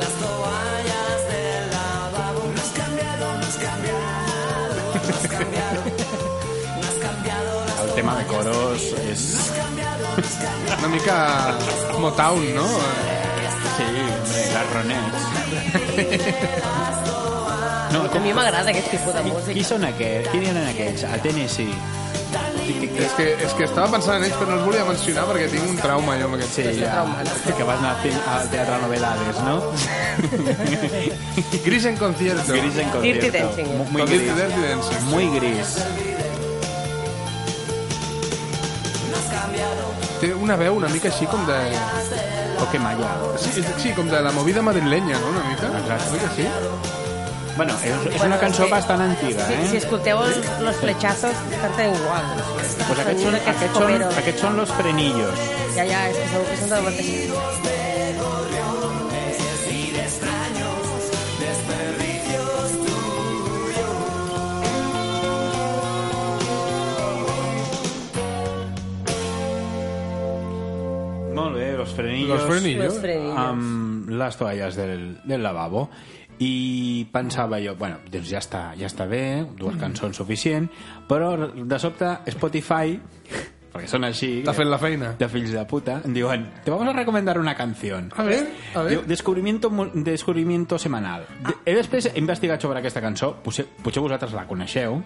F: las toallas del lavabo. No has cambiado, no has cambiado, no has cambiado, no has cambiado las
C: El tema de coros és... Sí,
A: Una mica Motown, no?
C: hombre, les Ronettes. No,
B: A
C: com...
B: mi m'agrada aquest tipus de música.
C: Qui són aquests? Qui eren aquests? A Tennessee.
A: És que, és que estava pensant en ells, però no els volia mencionar perquè tinc un trauma jo amb aquest.
B: Pues
C: Sí, ja. Que vas anar al te- al teatre novel·lades, no?
A: Gris en concierto.
C: Gris en concierto.
B: Dancing.
C: Mu- Muy
A: Con Dirty
C: gris.
A: Dirty Dancing.
C: Muy gris.
A: Té una veu una mica així com de...
C: O que malla.
A: Sí, sí, com de la movida madrilenya, no? Una mica.
C: Exacte.
A: Oi que sí?
C: Bueno, és, és
B: Bueno,
C: una
B: és
C: cançó
B: que-
C: bastant antiga,
B: Si, si
C: eh?
B: escolteu els, los flechazos, canten igual.
C: Pues aquests són, aquests són,
B: coperos.
C: aquests són los frenillos.
B: Ja, ja, és que segur que són de la mateixa.
C: Molt bé, los frenillos.
A: Los frenillos.
B: Los
C: Ah.
B: frenillos.
C: amb les toalles del, del lavabo i pensava jo, bueno, doncs ja està, ja està bé, dues cançons suficient, però de sobte Spotify, perquè són així...
A: T'ha fet la feina.
C: De fills de puta, em diuen, te vamos a recomendar una canción.
A: A ver, a ver. Ah.
C: Diu, descubrimiento, mu- descubrimiento semanal. De, he després he investigat sobre aquesta cançó, potser, potser vosaltres la coneixeu,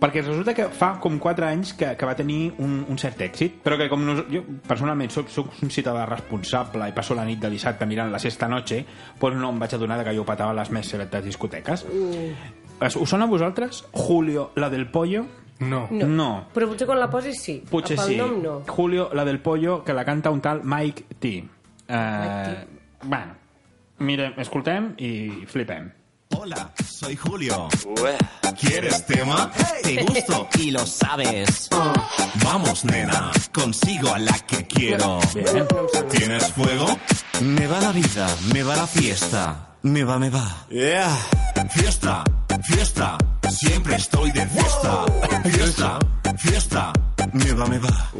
C: perquè resulta que fa com 4 anys que, que va tenir un, un cert èxit, però que com nos, jo personalment soc, soc un ciutadà responsable i passo la nit de dissabte mirant la sexta noche, doncs no em vaig adonar de que jo patava les més selectes discoteques.
A: Uh.
C: Es- Us sona a vosaltres? Julio, la del pollo?
A: No.
B: No.
C: no.
B: Però potser quan la posis sí.
C: Potser
B: Pel
C: sí.
B: nom no.
C: Julio, la del pollo, que la canta un tal Mike T. Eh, bueno, mirem, escoltem i flipem.
G: Hola, soy Julio. ¿Quieres tema? Te gusto y lo sabes. Vamos, nena, consigo a la que quiero.
C: Bien.
G: ¿Tienes fuego? Me va la vida, me va la fiesta. Me va, me va. Yeah. Fiesta, fiesta, siempre estoy de fiesta. Fiesta, fiesta, me va, me va.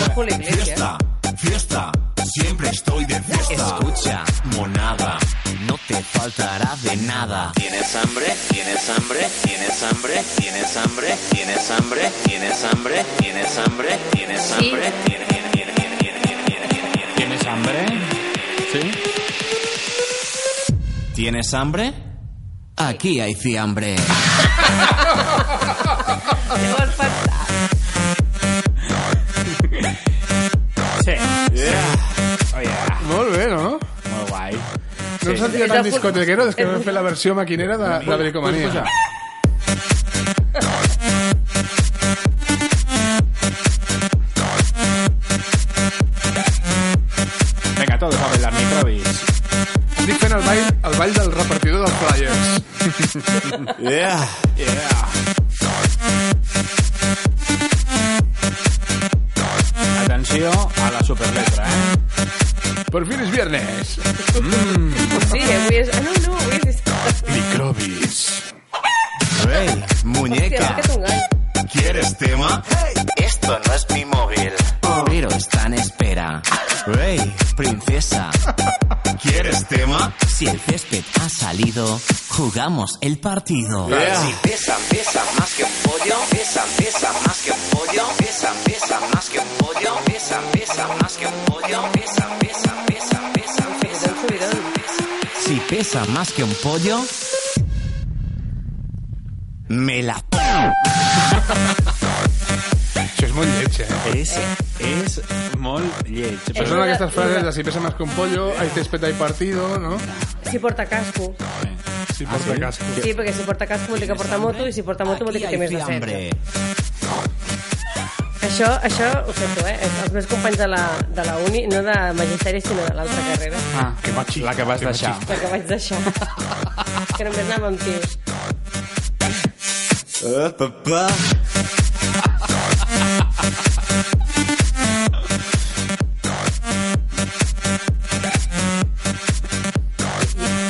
B: La Julio Iglesias.
G: Fiesta, fiesta, siempre estoy de fiesta.
H: Escucha,
G: monada.
H: no te faltará de nada.
I: ¿Tienes hambre? ¿Tienes hambre? ¿Tienes hambre? ¿Tienes hambre? ¿Tienes hambre? ¿Tienes hambre? ¿Tienes hambre? ¿Tienes hambre? ¿Tienes
C: ¿Tienes hambre? Sí.
G: ¿Tienes hambre?
H: Aquí hay fiambre.
B: Què vols pensar?
C: Sí. Oh, yeah.
A: Molt bé, no?
C: Molt guai.
A: No em sentia
B: És
A: tan
B: el-
A: discotequero, és que vam fer la versió maquinera de, de
C: Pots
A: Bricomania.
C: posar? Venga, todos a bailar microbis.
A: Estic fent el ball, el ball del repartidor dels flyers.
G: Yeah.
C: Atenció a les super letra, eh?
A: Por fin es viernes.
B: Sí, avui és... Ah, no, no, avui és...
A: Microbis.
G: Hey,
B: Hòstia,
G: muñeca,
B: m'ha fet un gall.
G: ¿quieres tema?
H: Esto no es mi móvil, pero está en espera.
G: Hey,
H: Princesa,
G: ¿quieres tema?
H: si el césped ha salido, jugamos el partido.
G: Yeah.
I: Si pesa, pesa más que un pollo, pesa, pesa más que un pollo, pesa, pesa más que un pollo, pesa, pesa más que un pollo, pesa, pesa, pesa, pesa, pesa,
B: Subidón, subidón.
H: Si pesa más que un pollo, me la...
A: Això és molt lleig, eh?
C: És, és molt lleig.
A: Però
C: Però...
A: són aquestes frases de si pesa más que un pollo, hay césped, hay partido, ¿no?
B: Si porta casco.
A: Si porta
C: Ah,
A: casco.
B: Sí, perquè si porta casco vol dir que porta moto i si porta moto vol dir
H: Aquí
B: que té més
H: hay
B: de 16.
H: fiambre.
B: Això, això ho sento, eh? Els meus companys de la, de la uni, no de magisteri, sinó de l'altra carrera,
C: Ah, que machista, la que vas deixar.
B: la que vaig deixar. que només anàvem amb tios.
G: Eh, papá.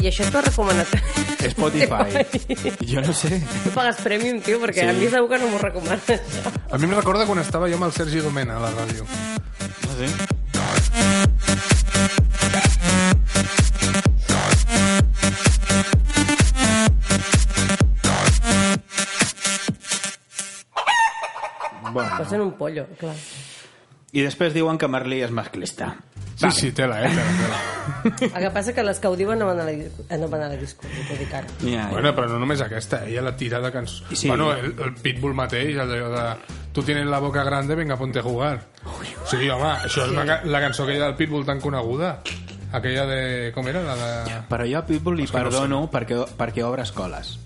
B: I això t'ho ha recomanat.
C: Spotify. Jo no sé.
B: Tu pagues premium, tio, perquè
C: Sí.
B: a mi segur que no m'ho recomanes.
A: A mi em recorda quan estava jo amb el Sergi Domena a la ràdio.
C: Sí.
B: Però sent un pollo, clar.
C: I després diuen que Merlí és masclista.
A: Sí, sí, tela, eh? Tela, tela.
B: El que passa que les que ho diuen no van a la, dis- eh, no van a la disco, t'ho dic ara.
C: Ja,
A: Bueno, però no només aquesta, ella la tira de cançó.
C: Sí.
A: Sí. Bueno, el, el Pitbull mateix, allò de... Tu tienes la boca grande, venga, ponte a jugar. Sí, home, això és una, ca- la cançó aquella del Pitbull tan coneguda. Aquella de... Com era? La de...
C: Però jo a Pitbull li perdono perquè, perquè obre escoles.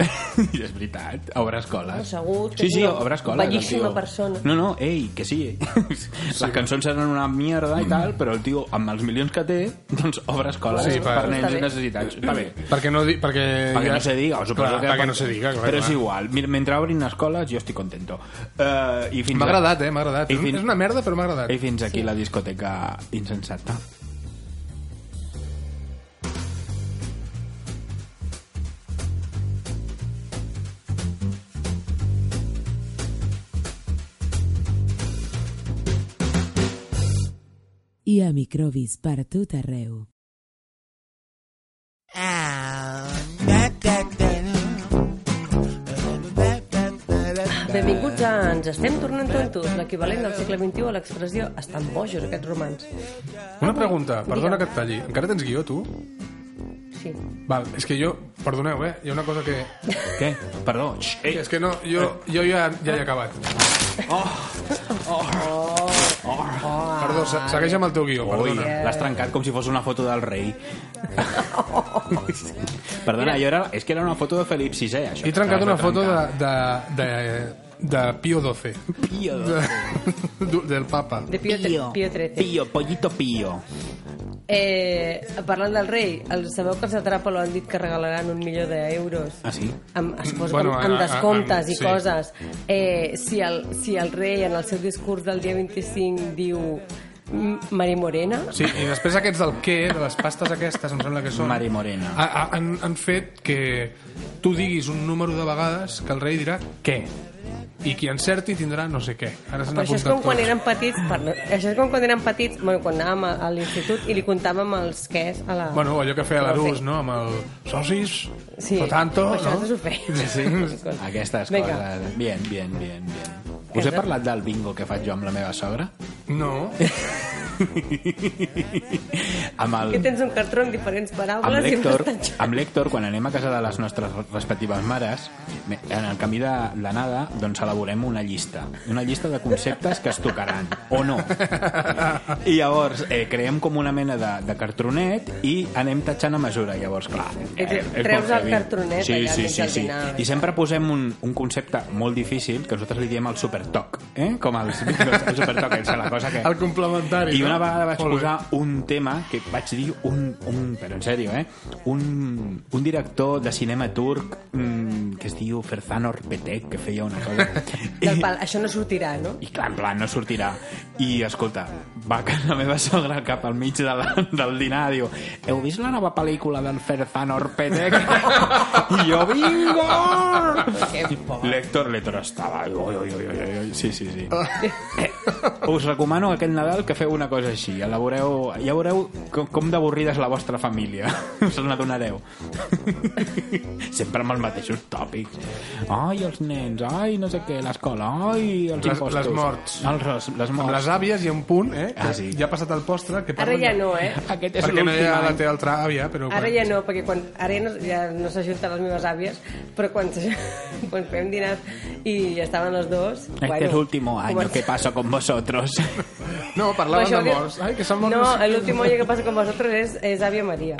C: I és veritat, obre escoles.
B: Segur que
C: sí,
B: és
C: sí,
B: una
C: obre escoles. el
B: bellíssima
C: tio.
B: persona.
C: No, no, ei, que sí. Les cançons seran una mierda i tal, però el tio, amb els milions que té, doncs obre escoles
A: Sí,
C: per,
A: per-
C: nens
B: Està bé.
C: i necessitats. Està bé.
A: Perquè no, di... perquè
C: Para que no se diga, o suposo
A: clar,
C: que...
A: Perquè no se diga, clar.
C: Però
A: clar.
C: és igual, mi- mentre obrin escoles jo estic contento. Uh, i fins
A: M'ha
C: a-
A: agradat, eh? M'ha agradat.
C: I
A: És un-
C: fins-
A: És una merda, però m'ha agradat.
C: I fins aquí la discoteca insensata.
D: I a microbis per tot arreu.
B: Benvinguts a Ens estem tornant tontos, l'equivalent del segle XXI a l'expressió estan bojos aquests romans.
A: Una pregunta, perdona que et talli. Encara tens guió, tu?
B: Sí.
A: Val, és que jo... Perdoneu, eh? Hi ha una cosa que...
C: Què? Perdó. Xx,
A: Ei. És que no, jo, jo ja, ja he acabat. Oh. Oh. Oh. Perdó, se- segueix amb el teu guió,
C: Ui,
A: perdona.
C: l'has trencat com si fos una foto del rei. Perdona, jo era, és que era una foto de Felip VI, això.
A: He trencat
C: L'has
A: una foto de,
C: trencar.
A: de, de, de Pio XII.
C: Pío,
A: De, du- del papa.
B: De Pio, Pío. Pio XIII.
C: Pío, pollito pío.
B: Eh, parlant del rei, el, sabeu que els de Trapalo han dit que regalaran un milió d'euros?
C: Ah, sí?
B: amb, es posa
A: Bueno,
B: bueno, amb,
A: a- a-
B: amb descomptes
A: amb-
B: i
A: sí.
B: coses. Eh, si, el, si el rei en el seu discurs del dia 25 diu "M- Mari Morena,
A: Sí, i després aquests del què, de les pastes aquestes, em sembla que són...
C: Mari Morena.
A: Ha, ha, han, han fet que tu diguis un número de vegades que el rei dirà què. I qui encerti tindrà no sé què. Ara s'han
B: Però això és
A: apuntat
B: com quan
A: tots.
B: érem petits, perdó, això és com quan érem petits, bueno, quan anàvem a, a l'institut i li contàvem els quès a la...
A: Bueno, allò que feia
B: Però
A: l'Arús,
B: sí.
A: no? Amb el socis,
B: Sí,
A: por tanto,
B: això
A: no?
B: no s'ho feia.
A: Sí.
C: Aquestes
B: Vinga.
C: coses. Bien, bien, bien, bien. Us he parlat del bingo que faig jo amb la meva sogra?
A: No.
C: Amb el...
B: Que tens un cartró amb diferents
C: amb
B: paraules i un
C: l'Hèctor,
B: estatge.
C: amb l'Hèctor, quan anem a casa de les nostres respectives mares, me- en el camí de l'anada, doncs elaborem una llista. Una llista de conceptes que es tocaran, o no. I llavors eh, creem com una mena de, de cartronet i anem tatxant a mesura. Llavors, clar... Eh,
B: Ets-
C: és
B: treus
C: molt
B: el
C: heavy.
B: cartronet
C: sí,
B: allà
C: sí,
B: enmig
C: sí,
B: del eh.
C: sí.
B: dinar.
C: I sempre posem un, un concepte molt difícil, que nosaltres li diem el supertoc, eh? com els, el supertoc, és la cosa que...
A: El complementari.
C: I una
A: no?
C: vegada vaig
A: Molt bé.
C: posar un tema que vaig dir un, un però en sèrio, eh? Un, un director de cinema turc mm, que es diu Ferzan Orpetek, que feia una cosa...
B: Del pal, això no sortirà, no?
C: I clar, en plan, no sortirà. I, escolta, va que la meva sogra al cap al mig de la, del dinar diu heu vist la nova pel·lícula del Ferzan Orpetek? I jo, vinga! L'Héctor Letor estava... Oi, oi, oi, oi, oi. Sí, sí, sí. Eh, us recomano aquest Nadal que feu una cosa així. Elaboreu, ja veureu com, com d'avorrida és la vostra família. Us n'adonareu. Sempre amb els mateixos tòpics. Ai, els nens, ai, no sé què, l'escola, ai, els
A: Les-
C: impostos.
A: les morts.
C: Els, les
A: Amb
C: morts.
A: les àvies hi ha un punt, eh?
C: Ah, sí.
A: Ja ha passat el postre, que
B: Ara
A: parlen...
B: ja no, eh?
C: Aquest és
A: Perquè no hi
C: l'últim
A: ha
C: any.
A: la teva altra àvia, però...
B: Ara ja no, perquè quan, ara ja no, ja no s'ajunten les meves àvies, però quan, s'aj- quan fem dinars i ja estaven les dues...
C: Este es el último año que paso con vosotros.
A: No, parlaven de morts. Ai, que s'han mort...
B: No,
A: sé
B: el último año que pasa con vosotros es, es Avia María.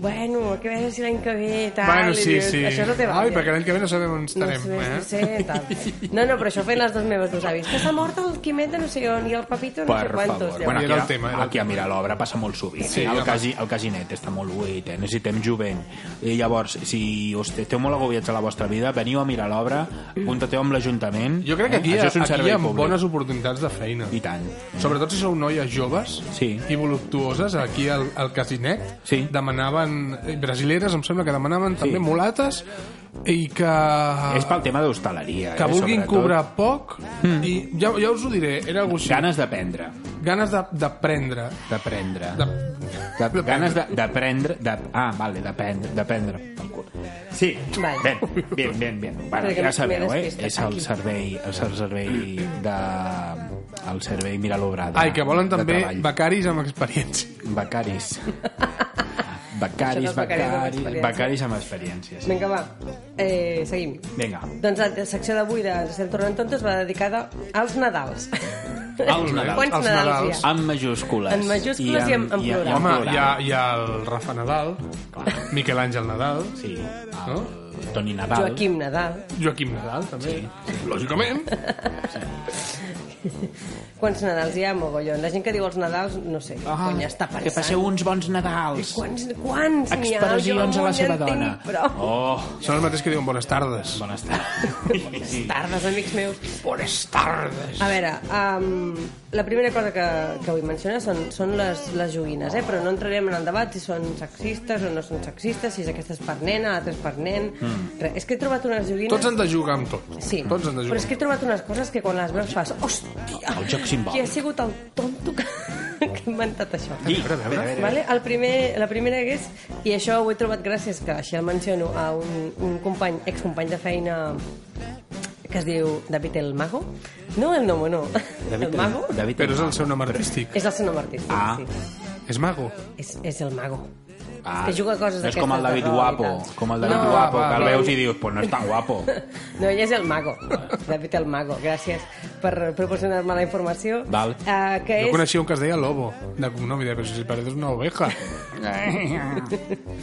B: Bueno, que veure si l'any que ve, tal...
A: Bueno,
B: i
A: sí,
B: dius,
A: sí.
B: Això no te va
A: Ai,
B: bé.
A: perquè l'any que ve no sabem on
B: No,
A: estarem,
B: sé, no,
A: eh?
B: sé, tal. no, no, però això fent les dues meves dos avis. Que s'ha mort el Quimet de no sé on i el Papito no sé
C: Per
B: quantos.
C: favor.
B: llavors.
C: Bueno,
A: Era
C: aquí,
A: el tema, era
C: aquí a mirar l'obra passa molt sovint.
A: Sí,
C: Sí, el,
A: home.
C: casi, el casinet està molt buit, eh? necessitem jovent. I llavors, si us esteu molt agobiats a la vostra vida, veniu a mirar l'obra, apuntateu amb l'Ajuntament.
A: Jo crec que aquí,
C: eh?
A: hi ha-
C: Això és un
A: aquí hi
C: servei
A: ha
C: públic.
A: bones oportunitats de feina.
C: I tant.
A: Sobretot si sou noies joves
C: Sí.
A: i voluptuoses, aquí al, al casinet
C: Sí.
A: demanaven, eh, brasileres em sembla que demanaven també mulates i que,
C: És pel tema d'hostaleria.
A: que
C: eh?
A: vulguin
C: sobretot. Hmm.
A: cobrar poc i ja, ja us ho diré, era alguna cosa així.
C: Ganes d'aprendre.
A: Ganes de- d'aprendre.
C: D'aprendre.
A: De,
C: De, ganes de- d'aprendre... De, ah, vale, d'aprendre. D'aprendre. pel cul. Sí,
B: Vale.
C: ben, ben, ben, ben. Bueno,
B: Perquè
C: ja
B: m'he
C: sabeu, eh?
B: despistat
C: És el
B: aquí.
C: servei, és el servei de... El servei Mira l'Obrada.
A: Ai, que volen
C: de
A: també
C: treball.
A: becaris amb experiència.
C: Becaris.
B: Això dels
C: Becaris,
B: becaris amb
C: becaris,
B: experiència.
C: becaris amb experiències.
B: Vinga, va. Eh, seguim.
C: Vinga.
B: Doncs la secció d'avui de Estem tornant tontos va dedicada als Nadals.
C: Als Nadals.
B: Quants
A: Als
B: Nadals,
A: Nadals.
B: hi ha?
C: Amb majúscules.
B: En majúscules i en- en plural.
C: en
A: Home, hi ha,
C: plural.
A: hi ha el Rafa Nadal, Miquel Àngel Nadal,
C: Sí, el
A: no?
C: Toni Nadal.
B: Joaquim Nadal.
A: Joaquim Nadal, també. Lògicament.
B: Quants Nadals hi ha, mogollon? La gent que diu els Nadals, no sé, ah, cony està pensant.
C: Que passeu uns bons Nadals.
B: Quants, quants n'hi ha?
C: Expressions
B: Jo
C: a la
B: no
C: seva
B: en tinc
C: dona.
B: Prou.
C: Oh,
A: Són el mateix que diuen bones tardes.
C: bones tardes.
B: Tardes, amics meus.
A: Bones tardes.
B: A veure, um, la primera cosa que, que vull mencionar són, són les, les joguines, eh? però no entrarem en el debat si són sexistes o no són sexistes, si és aquesta és per nena, l'altra és per nen... Mm. Res, és que he trobat unes joguines...
A: Tots han de jugar amb tot.
B: Sí,
A: Tots han de
B: però
A: jugar.
B: és que he trobat unes coses que quan les veus fas... Hòstia,
C: El joc simbòlic.
B: qui ha sigut el tonto que, que ha inventat això?
C: I, a veure, a veure.
B: Vale? El primer, la primera que és, i això ho he trobat gràcies, que així el menciono, a un, un company, excompany de feina que es diu David el Mago. No el Nomo, no. David el Mago
C: David
A: Però és el seu nom artístic.
B: és el seu nom artístic,
C: Ah.
B: sí.
A: És mago.
B: És, és el Mago.
C: Ah,
B: que juga a coses
C: no és
B: d'aquestes
C: com el
B: de
C: David
B: rol i
C: Guapo,
B: tal.
C: com el David
B: No,
C: Guapo,
A: va,
C: que el
A: va.
C: veus i dius, pues no és tan guapo.
B: No, ell és el Mago. David el Mago. Gràcies per proporcionar-me la informació.
C: Val.
B: Eh, que
A: Jo
B: és...
A: coneixia un que es deia Lobo, de cognom, i deia, però si pareces una oveja.
B: Eh.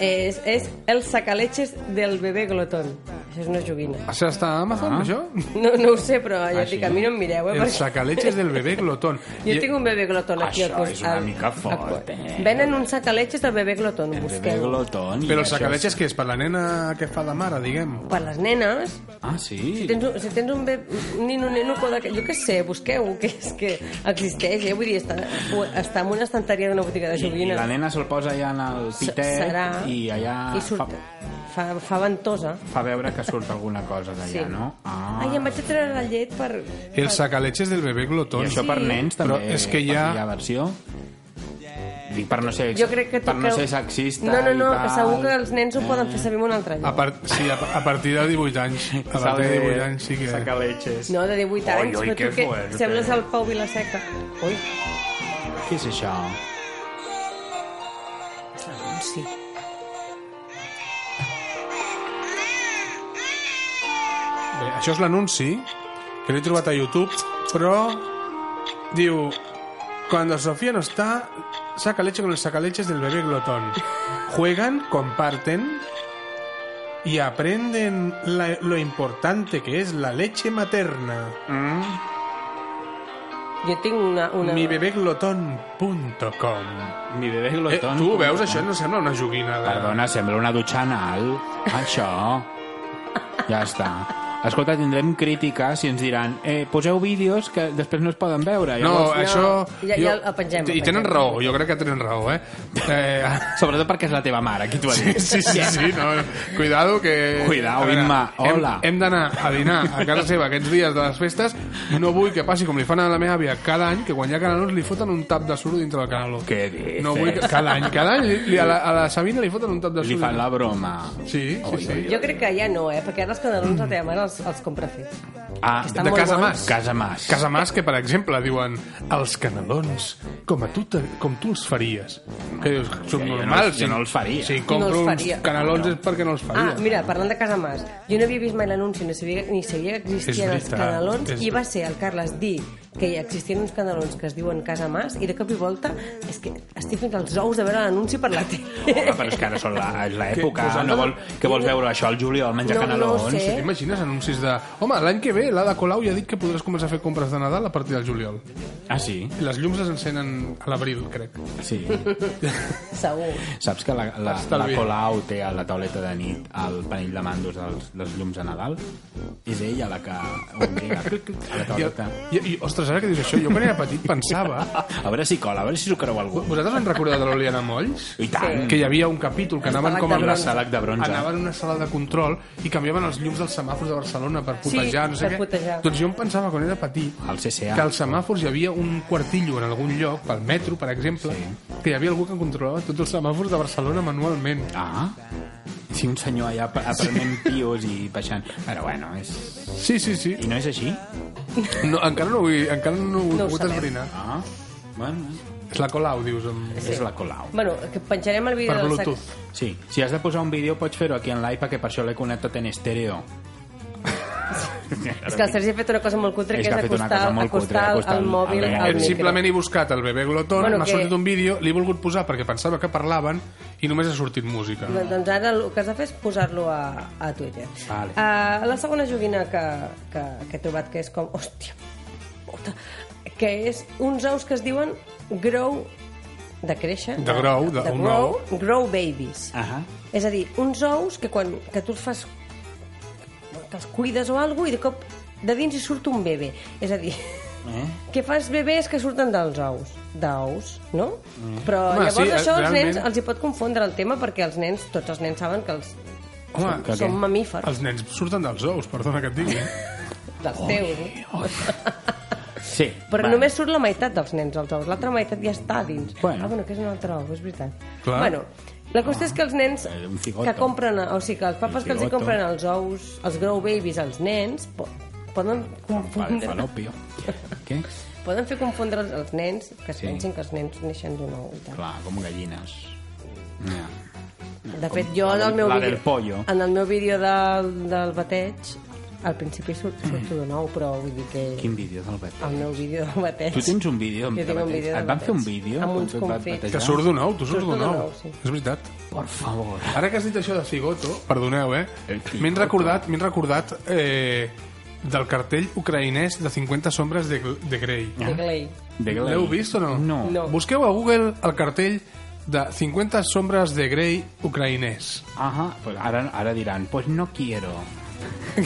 B: És, és el sacaleches del bebè glotón. Això és una joguina.
A: Això està a Amazon, ah. això?
B: No, no ho sé, però ja
C: Ah,
B: et dic,
C: sí?
B: a mi no em mireu, eh?
A: El
B: perquè-
A: sacaleches del bebé glotón.
B: Jo tinc un bebè glotón aquí al
C: Això
B: costat.
C: és una mica fort, eh?
B: Venen un sac a leches del bebè glotón,
C: El bebè
B: busqueu.
C: glotón. i
A: Però el
C: això
A: sacaleches que és per la nena que fa de mare, diguem.
B: Per les nenes,
C: és- Ah, sí?
B: si tens, un- si tens un, bebè, un nino, un nino, que- jo què sé, busqueu, que és que existeix, eh? Vull dir, està, ho- està en una estanteria d'una botiga de
C: I, i
B: joguines.
C: la nena se'l posa allà en el
B: S-
C: pitet
B: serà-
C: i allà
B: I surt,
C: fa,
B: fa, fa ventosa.
C: fa veure que surt alguna cosa d'allà, no? Ah,
B: Ai, em vaig a treure la llet per...
A: El sacaleches del bebé glotón.
C: I això per nens també
A: Però és que hi ha-
C: hi ha versió. Dic, per no ser,
B: Jo crec que...
C: per no
B: toqueu-
C: ser sexista
B: No, no, no,
C: i tal. Ah,
B: segur que els nens ho poden fer servir en un altre
A: A,
B: lloc.
A: par sí, a, a partir de 18 anys. A partir de 18 anys sí que...
C: Sacaleches.
B: No, de 18 anys,
C: oi,
B: però
C: que
B: tu que
C: fuerte.
B: sembles el Pau Vilaseca. Ui,
C: Què és això?
B: és l'anunci.
A: Bé, això és l'anunci que l'he trobat a YouTube, però diu... Cuando Sofía no está, saca leche con el sacaleches del bebé glotón. Juegan, comparten y aprenden la- lo importante que es la leche materna.
B: Jo tinc una... una...
A: Mibebeglotón.com
C: Mi bebé
A: eh,
C: glotón.
A: Tu ho veus, això no sembla una joguina de...
C: Perdona, sembla una dutxa anal. Això. Ja està. Escolta, tindrem crítica si ens diran eh, poseu vídeos que després no es poden veure.
A: No,
C: Llavors,
A: això...
B: Ja- ja el pengem, el
A: I tenen
B: pengem.
A: raó, jo crec que tenen raó, eh? eh
C: Sobretot perquè és la teva mare, qui t'ho ha
A: sí,
C: dit.
A: sí, sí, sí, no, no. Cuidado que...
C: Cuidao,
A: A veure,
C: Imma,
A: hem-
C: hola.
A: Hem, d'anar a dinar a casa seva aquests dies de les festes. No vull que passi com li fan a la meva àvia cada any, que quan hi ha canalons li foten un tap de suro dintre del canaló.
C: Què dices?
A: No vull que... Cada any, cada any li, li, a, la, a la Sabina li foten un tap de suro.
C: Li fan la broma.
A: Sí, sí, sí.
B: Jo crec que ja no, eh? Perquè ara els canelons la teva mare els, els compra fets.
C: Ah,
B: Estan
A: de
B: molt
A: casa
B: bons.
A: mas.
C: Casa Mas.
A: Casa Mas, que per exemple diuen els canelons, com, a tu, te, com tu els faries. Que dius,
C: jo no
A: subnormal.
C: els- jo no els faria.
A: Si compro
B: No els
A: uns
B: faria.
A: canelons és perquè no els faria.
B: Ah, mira, parlant de Casa Mas, jo no havia vist mai l'anunci, no sabia, ni sabia que existien
A: És
B: els
A: veritat,
B: canelons,
A: és
B: i va ser el Carles dir que hi existien uns canelons que es diuen Casa Mas, i de cop i volta, és que estic fins als ous de veure l'anunci per la
C: Home,
B: tele.
C: però és que ara són la- és l'època.
A: Que-
C: No vol, que vols veure això al juliol, menjar
B: No, no
C: canelons?
B: ho sé.
A: T'imagines anuncis de... Home, l'any que ve l'Ada Colau ja ha dit que podràs començar a fer compres de Nadal a partir del juliol.
C: Ah, sí?
A: I les llums es encenen a l'abril, crec.
C: Sí.
B: Segur.
C: Saps que la, la, la
A: Estalvi.
C: Colau té a la tauleta de nit el panell de mandos dels, dels llums de Nadal? És ella la que ho mira a la
A: I,
C: tauleta.
A: i, i, ostres, ara que dius això, jo quan era petit pensava...
C: A veure si cola, a veure si s'ho creu algú.
A: Vosaltres en recordeu de l'Oliana Molls?
C: I tant.
A: que hi havia un capítol que
B: El
A: anaven
B: Salac
A: com
B: de
A: amb
B: bronze.
C: Salac de bronze.
A: Anaven a una sala de control i canviaven els llums dels semàfors de Barcelona per
B: Sí,
A: putejar, no sé
B: per
A: què.
B: putejar.
A: Doncs jo em pensava quan era petit
C: Al CCA.
A: que als semàfors hi havia un quartillo en algun lloc, pel metro, per exemple, que hi havia algú que controlava tots els semàfors de Barcelona manualment.
C: Ah, sí, un senyor allà ap- aprenent pios i baixant. Però bueno, és...
A: Sí, sí, sí.
C: I no és així?
A: No, encara no ho he, encara no ho he
B: No ho
A: pogut
B: sabem.
A: esbrinar.
C: Ah, bueno,
A: És la Colau, dius. Amb...
C: és la Colau.
B: Bueno, que penjarem el vídeo
A: Per
B: del sac-
A: Bluetooth.
C: Sí, si has de posar un vídeo pots fer-ho aquí en l'iPad, que per això l'he connectat en estèreo.
B: És que el Sergi ha fet una cosa molt cutre,
C: És
B: que,
C: que ha
B: és
C: fet una
B: acostar,
C: cosa molt
B: acostar,
C: cutre,
B: el-
C: acostar
B: el,
C: el-
B: mòbil
C: el-
B: al
C: el-
B: micro.
A: He Eh, simplement he buscat el bebè glotón,
B: Ah, Bueno,
A: m'ha
B: que-
A: sortit un vídeo, l'he volgut posar perquè pensava que parlaven i només ha sortit música.
B: Doncs- Doncs ara el que has de fer és posar-lo a, a Twitter.
C: Vale.
B: Uh, la segona joguina que, que, que he trobat, que és com... Hòstia, puta, que és uns ous que es diuen grow de créixer.
A: De grow, de- un
B: grow, grow babies.
C: Ahà.
B: És a dir, uns ous que quan que tu els fas que els cuides o alguna i de cop de dins hi surt un bebè. És a dir,
C: Eh?
B: que fas bebès que surten dels ous, d'ous, no?
C: Mm.
B: Però
A: Home,
B: llavors
A: sí,
B: això als
A: realment-
B: nens els hi pot confondre el tema perquè els nens, tots els nens saben que els
A: Home,
C: Que
B: són
C: què?
B: mamífers,
A: els nens surten dels ous, perdona que et digui. eh?
B: dels teus. eh?
C: Sí.
B: Però
C: vale.
B: només surt la meitat dels nens als ous, l'altra meitat ja està a dins.
C: Bueno.
B: Ah, bueno, que és un altre ou, és veritat.
A: Clar.
B: Bueno, la qüestió és que els nens
C: eh, un cigoto.
B: que compren, o sigui, que els papes
C: Un
B: que els hi
C: cigoto.
B: compren els ous, els grow babies, als nens, po- poden
C: Vale,
B: confondre
C: falopio. Què?
B: Poden fer confondre els, els nens, que es
C: Sí.
B: pensin que els nens neixen d'un ou. i tal.
C: Clar, com gallines. Ja.
B: De fet, jo
C: la
B: en el
C: del-
B: meu
C: la
B: vídeo...
C: del pollo.
B: En el meu vídeo del, del bateig, al principi sur- surto de nou, però vull dir que...
C: Quin vídeo del Betis?
B: El meu vídeo del bateig...
C: Tu tens un vídeo amb
B: Jo tinc un
C: Batet?
B: vídeo de
C: Et van fer un
B: Batet.
C: vídeo?
B: Amb
C: on
B: uns
C: tu et vas
B: confits.
C: batejar?
A: Que surt d'un ou, tu surts
B: Surto
A: d'un
B: d'un
A: ou.
B: ou, sí.
A: És veritat.
C: Por favor.
A: Ara que has dit això de cigoto, perdoneu, eh?
C: El cigoto.
A: M'he recordat, m'he recordat eh, del cartell ucraïnès de 50 sombres de, gl- de Grey.
B: Ah, De Clay.
C: De Glei.
A: L'heu vist o no?
C: No.
B: No.
A: Busqueu a Google el cartell de 50 sombres de Grey ucraïnès.
C: Ajá, pues ahora, ahora dirán, pues no quiero.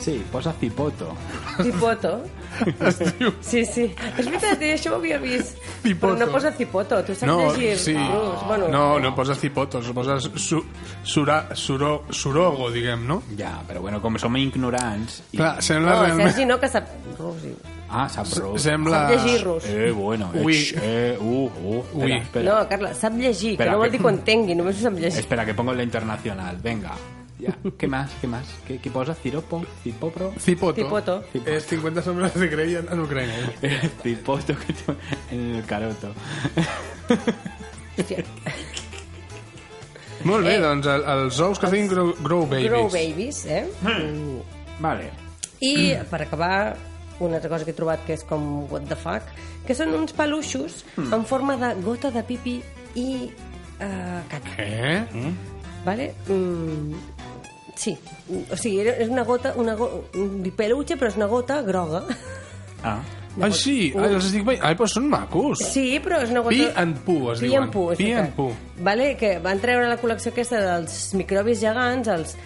C: sí, posa pipoto.
B: Cipoto. Sí, sí. És veritat, eh, això ho havia vist.
A: Cipoto.
B: Però no posa cipoto, tu saps llegir rus. Bueno, eh,
A: no, no poses cipotos, poses su, sura, suro, surogo, diguem, no?
C: Ja, però bueno, com som ignorants... I...
A: Clar, sembla
B: No,
A: realment...
B: Sergi no, que sap rus. diu.
C: Ah, sap rus.
A: Sembla...
B: Sap llegir rus.
C: Eh, bueno,
A: Ui.
C: ets, eh, uh, uh. Espera,
A: Ui.
C: espera.
B: No, Carla, sap llegir, que
C: Espera,
B: no vol
C: que-
B: dir que ho entengui, només ho sap llegir.
C: Espera, que pongo la internacional, venga. Ya. ¿Qué más? ¿Qué más? ¿Qué, qué posa? Ciropo, cipopro...
A: Cipoto.
B: Cipoto.
A: Es 50 sombras de Grey en, en Ucrania.
C: Cipoto que te- en el caroto.
B: Hòstia,
A: Molt bé, doncs el, els ous que es diguin grow, grow babies.
B: Eh. Grow babies, eh? Mm.
C: Vale.
B: I, per acabar, una altra cosa que he trobat que és com what the fuck, que són uns peluixos
C: Hmm.
B: en forma de gota de pipi i eh, caca,
A: Eh?
B: vale? Mm, sí, o sigui, era- és una gota, una go un peluche, però és una gota groga.
C: Ah.
A: Ah, sí, ai, els estic veient. Ai, però són macos.
B: Sí, però és una gota...
A: Pee and poo, es
B: Pee
A: diuen.
B: and poo, és
A: Pee
B: veritat.
A: and poo.
B: Vale, que van treure la col·lecció aquesta dels microbis gegants, els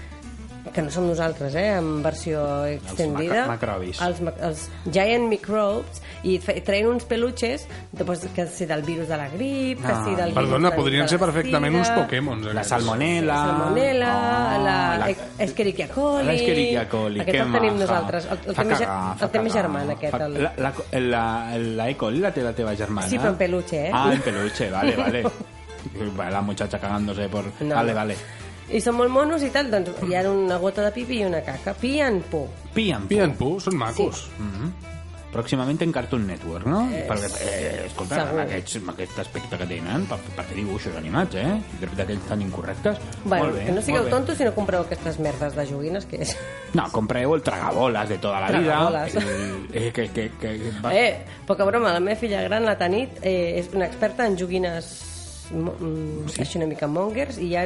B: que no som nosaltres, eh, en versió extendida.
C: macrobis.
B: Els, ma- els giant microbes, i fe- treien uns peluches de, pues, que si del virus de la grip, que
C: Ah,
B: si del virus
A: Perdona,
B: de- de
A: podrien
B: la
A: ser perfectament uns
B: sida,
A: Pokémons.
C: La
A: aquests.
C: salmonella...
B: La salmonella,
C: Ah,
B: la, E.
C: la-
B: la Escherichia coli...
C: L'Escherichia coli,
B: Aquest
C: que
B: el tenim
C: maja. ah,
B: nosaltres. El, el,
C: Fa
B: té més,
C: cagar, fa
B: el té més
C: cagar.
B: germana, aquest.
C: Fa-
B: El...
C: La, la, la, la E. coli la té la teva germana?
B: Sí, però en peluche, eh?
C: Ah, en peluche, vale, vale. Va, La muchacha cagándose por...
B: No.
C: Vale, vale.
B: I són molt monos i tal, doncs hi ha una gota de pipi i una caca. Pien por.
C: Pian,
A: Pian Pu, són macos.
C: Pròximament en Cartoon Network, no? Eh, Perquè, eh, escolta,
B: segur.
C: amb aquests, amb aquest aspecte que tenen, per, per què dibuixos animats, eh? I de veritat que ells tan incorrectes.
B: Bueno,
C: molt bé,
B: que no sigueu
C: molt bé.
B: tontos si no compreu aquestes merdes de joguines, que és...
C: No, compreu el tragaboles de tota la
B: Tragabolas.
C: vida. El, eh, que, que, que, que va-
B: Eh, poca broma, la meva filla gran, la Tanit, eh, és una experta en joguines mo- mm, així una mica mongers i hi ha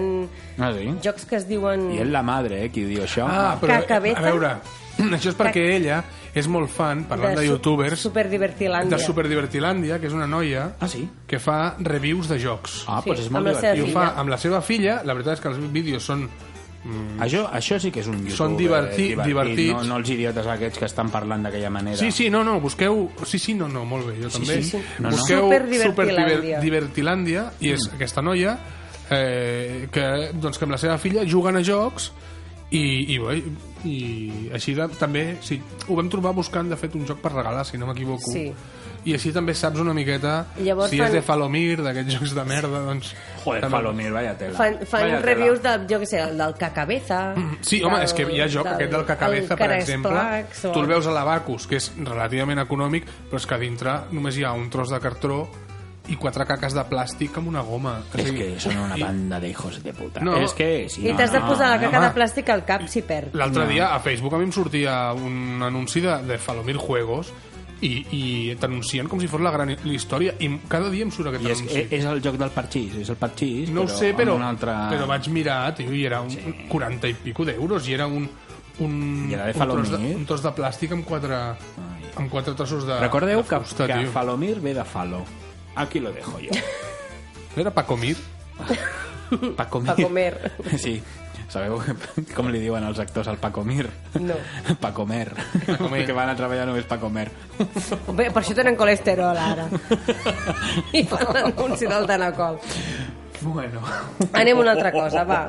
C: Ah, sí?
B: jocs que es diuen...
C: I és la madre, eh, qui diu això.
A: Ah, però,
B: Cacabeza.
A: a veure, això és perquè ella és molt fan, parlant de,
B: su-
A: youtubers,
B: Superdivertilàndia.
A: de Superdivertilàndia, que és una noia
C: Ah, sí?
A: que fa reviews de jocs.
C: Ah,
B: Sí,
C: doncs és molt
B: amb la seva
A: I ho
C: divertit.
A: fa
B: filla.
A: amb la seva filla. La veritat és que els vídeos són...
C: Això, això sí que és un youtuber
A: Són diverti- divertits.
C: No, no els idiotes aquests que estan parlant d'aquella manera.
A: Sí, sí, no, no, busqueu... Sí, sí, no, no, molt bé, jo també.
C: sí, sí. No, no.
A: Busqueu
B: Superdivertilàndia.
A: Superdivertilàndia i és aquesta noia eh, que, doncs, que amb la seva filla juguen a jocs i, i, bé, i així de, també sí, ho vam trobar buscant de fet un joc per regalar, si no m'equivoco
B: Sí.
A: i així també saps una miqueta
B: Llavors
A: si
B: fan-
A: és de Falomir, d'aquests jocs de merda doncs,
C: Joder,
A: també-
C: Falomir, vaya tela.
B: Fan, fan
C: Vaya
B: reviews
C: tela.
B: de, jo què sé, el del cacabeza...
A: Mm, Sí, home, és que hi ha joc aquest del Cacabeza,
B: el
A: per exemple.
B: Carasplax o
A: Tu el veus a l'Abacus, que és relativament econòmic, però és que a dintre només hi ha un tros de cartró i quatre caques de plàstic amb una goma. O
C: És
A: sigui,
C: que són una
A: i
C: banda de hijos de puta.
A: No.
C: És que... Sí,
B: I t'has de posar la caca
A: home.
B: de plàstic al cap si perd.
A: L'altre dia a Facebook a mi em sortia un anunci de, de Falomir Juegos i, i t'anuncien com si fos la gran hi- història i cada dia em surt aquest
C: I és,
A: anunci.
C: és, és el joc del parxís, és el parxís,
A: no ho
C: però
A: sé, però,
C: amb un altre...
A: però vaig mirar, tio, i era un 40 i pico d'euros i era un un,
C: I era de
A: un, tros de,
C: Falomir.
A: un tros de plàstic amb quatre, amb quatre trossos de
C: Recordeu
A: de
C: que,
A: fusta,
C: que
A: tio.
C: Falomir ve de Falo. Aquí lo dejo yo.
A: No Era Paco Mir?
C: Pa comer.
B: Pa comer.
C: Sí. Sabeu com li diuen els actors al Pacomir?
B: No.
C: Pa comer.
A: comer.
C: Que van a treballar només pa comer.
B: Bé, per això tenen colesterol, ara. I fan l'anunci del Danacol.
C: Bueno.
B: Anem a una altra cosa, va.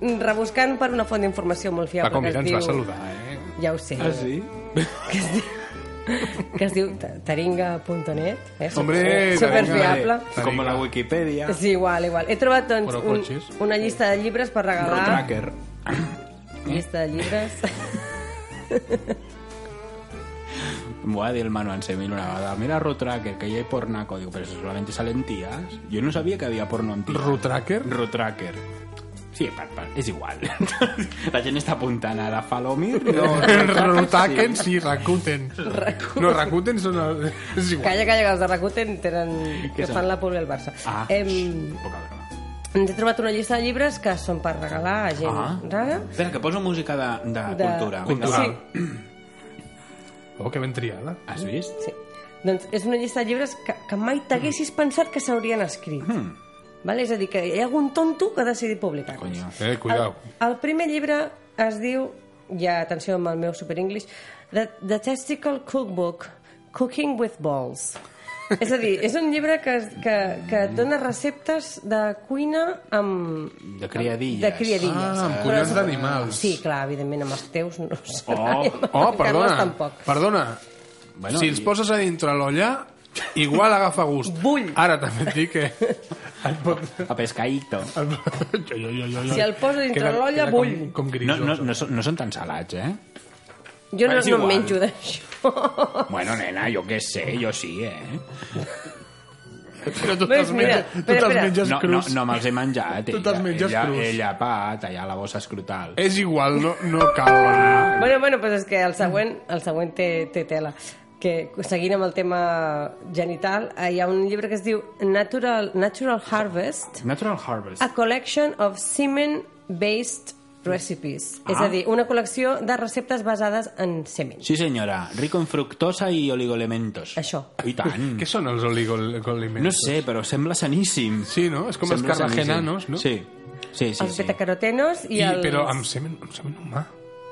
B: Rebuscant per una font d'informació molt fiable
A: Paco Mir
B: que es
A: ens
B: diu...
A: va saludar, eh?
B: Ja ho sé.
C: Ah, sí?
B: Que es diu ta- taringa.net. Eh?
A: Hombre,
B: Superfiable.
A: Taringa.
C: Com la Wikipedia.
B: És igual, igual. He trobat doncs,
A: Però
B: un,
A: cotxes.
B: una llista de llibres per
C: Road
B: regalar.
C: Tracker. eh?
B: Llista de llibres.
C: M'ho va dir el Manu Ansemil una vegada. Mira Road Tracker, que hi ha pornaco. Digo, però solamente salen tías. Jo no sabia que havia porno amb tías.
A: Road Tracker?
C: Road Tracker. Sí, per, per, és igual. la gent està apuntant ara Falomir. No,
A: Rakuten, sí, Rakuten. No, Rakuten són... El... És igual.
B: Calla, calla, que els de Rakuten tenen...
C: Què
B: que
C: són?
B: fan la pulga al Barça.
C: Ah,
B: Em,
C: xxt, poca broma.
B: ens he trobat una llista de llibres que són per regalar a gent
C: Ah.
B: rara.
C: Espera, que poso música de, de,
B: De-
C: cultura. Vinga,
A: Cultural.
C: va.
A: Oh, que ben triada.
C: Has vist?
B: Sí. Doncs és una llista de llibres que, que mai
C: Mm.
B: t'haguessis pensat que s'haurien escrit. Vale? És a dir, que hi ha algun tonto que ha decidit publicar-los.
C: Coño.
A: Eh, cuidao.
B: El, el primer llibre es diu, ja atenció amb el meu superenglish, The, The Testicle Cookbook, Cooking with Balls. És a dir, és un llibre que, es- que, que et dona receptes de cuina amb...
C: De criadilles.
B: De criadilles.
A: Ah, amb
B: Però
A: collons
B: és-
A: d'animals.
B: Sí, clar, evidentment, amb els teus no serà.
C: Oh,
B: i amb
A: Oh,
B: el Carles
A: perdona.
B: tampoc.
A: Perdona.
C: Bueno,
A: si els
C: i-
A: poses a dintre l'olla, igual agafa gust.
B: Bull.
A: Ara també et dic que... Et pot...
C: A pescaíto.
A: Et... Jo, jo, jo, jo, jo.
B: Si el posa dintre
A: Queda-
B: l'olla,
A: queda
B: bull.
A: Com, com
C: No,
A: grisos.
C: no, no, són, no són tan salats, eh?
B: Jo no,
C: És
B: no em
C: igual.
B: menjo d'això.
C: Bueno, nena, jo què sé, jo sí, eh?
A: Però tu
B: Ves,
A: te'ls
B: mira,
A: menges, tu
B: espera,
A: te'ls
B: espera.
A: menges
C: No, no,
A: crus.
C: no me'ls he menjat.
A: Tu te'ls menges
C: ella,
A: crus. Eh.
C: Ella, pa, tallar la bossa escrotal.
A: És igual, no, no cal.
B: Bueno, bueno, pues és que el següent, el següent té, té tela. Que, seguint amb el tema genital, eh, hi ha un llibre que es diu Natural, Natural Harvest, Ah.
C: Natural Harvest.
B: A Collection of Semen Based Recipes.
C: Ah.
B: És a dir, una col·lecció de receptes basades en semen.
C: Sí, senyora. Rico en fructosa i oligoelementos.
B: Això.
C: I tant.
A: Què són els oligolimentos?
C: No sé, però sembla saníssim.
A: Sí, no? És com els
C: Sembla saníssim.
A: carbagenanos, no?
C: Sí. Sí, sí,
B: els
C: sí.
B: betacarotenos i,
A: I,
B: els...
A: Però amb semen, amb semen humà.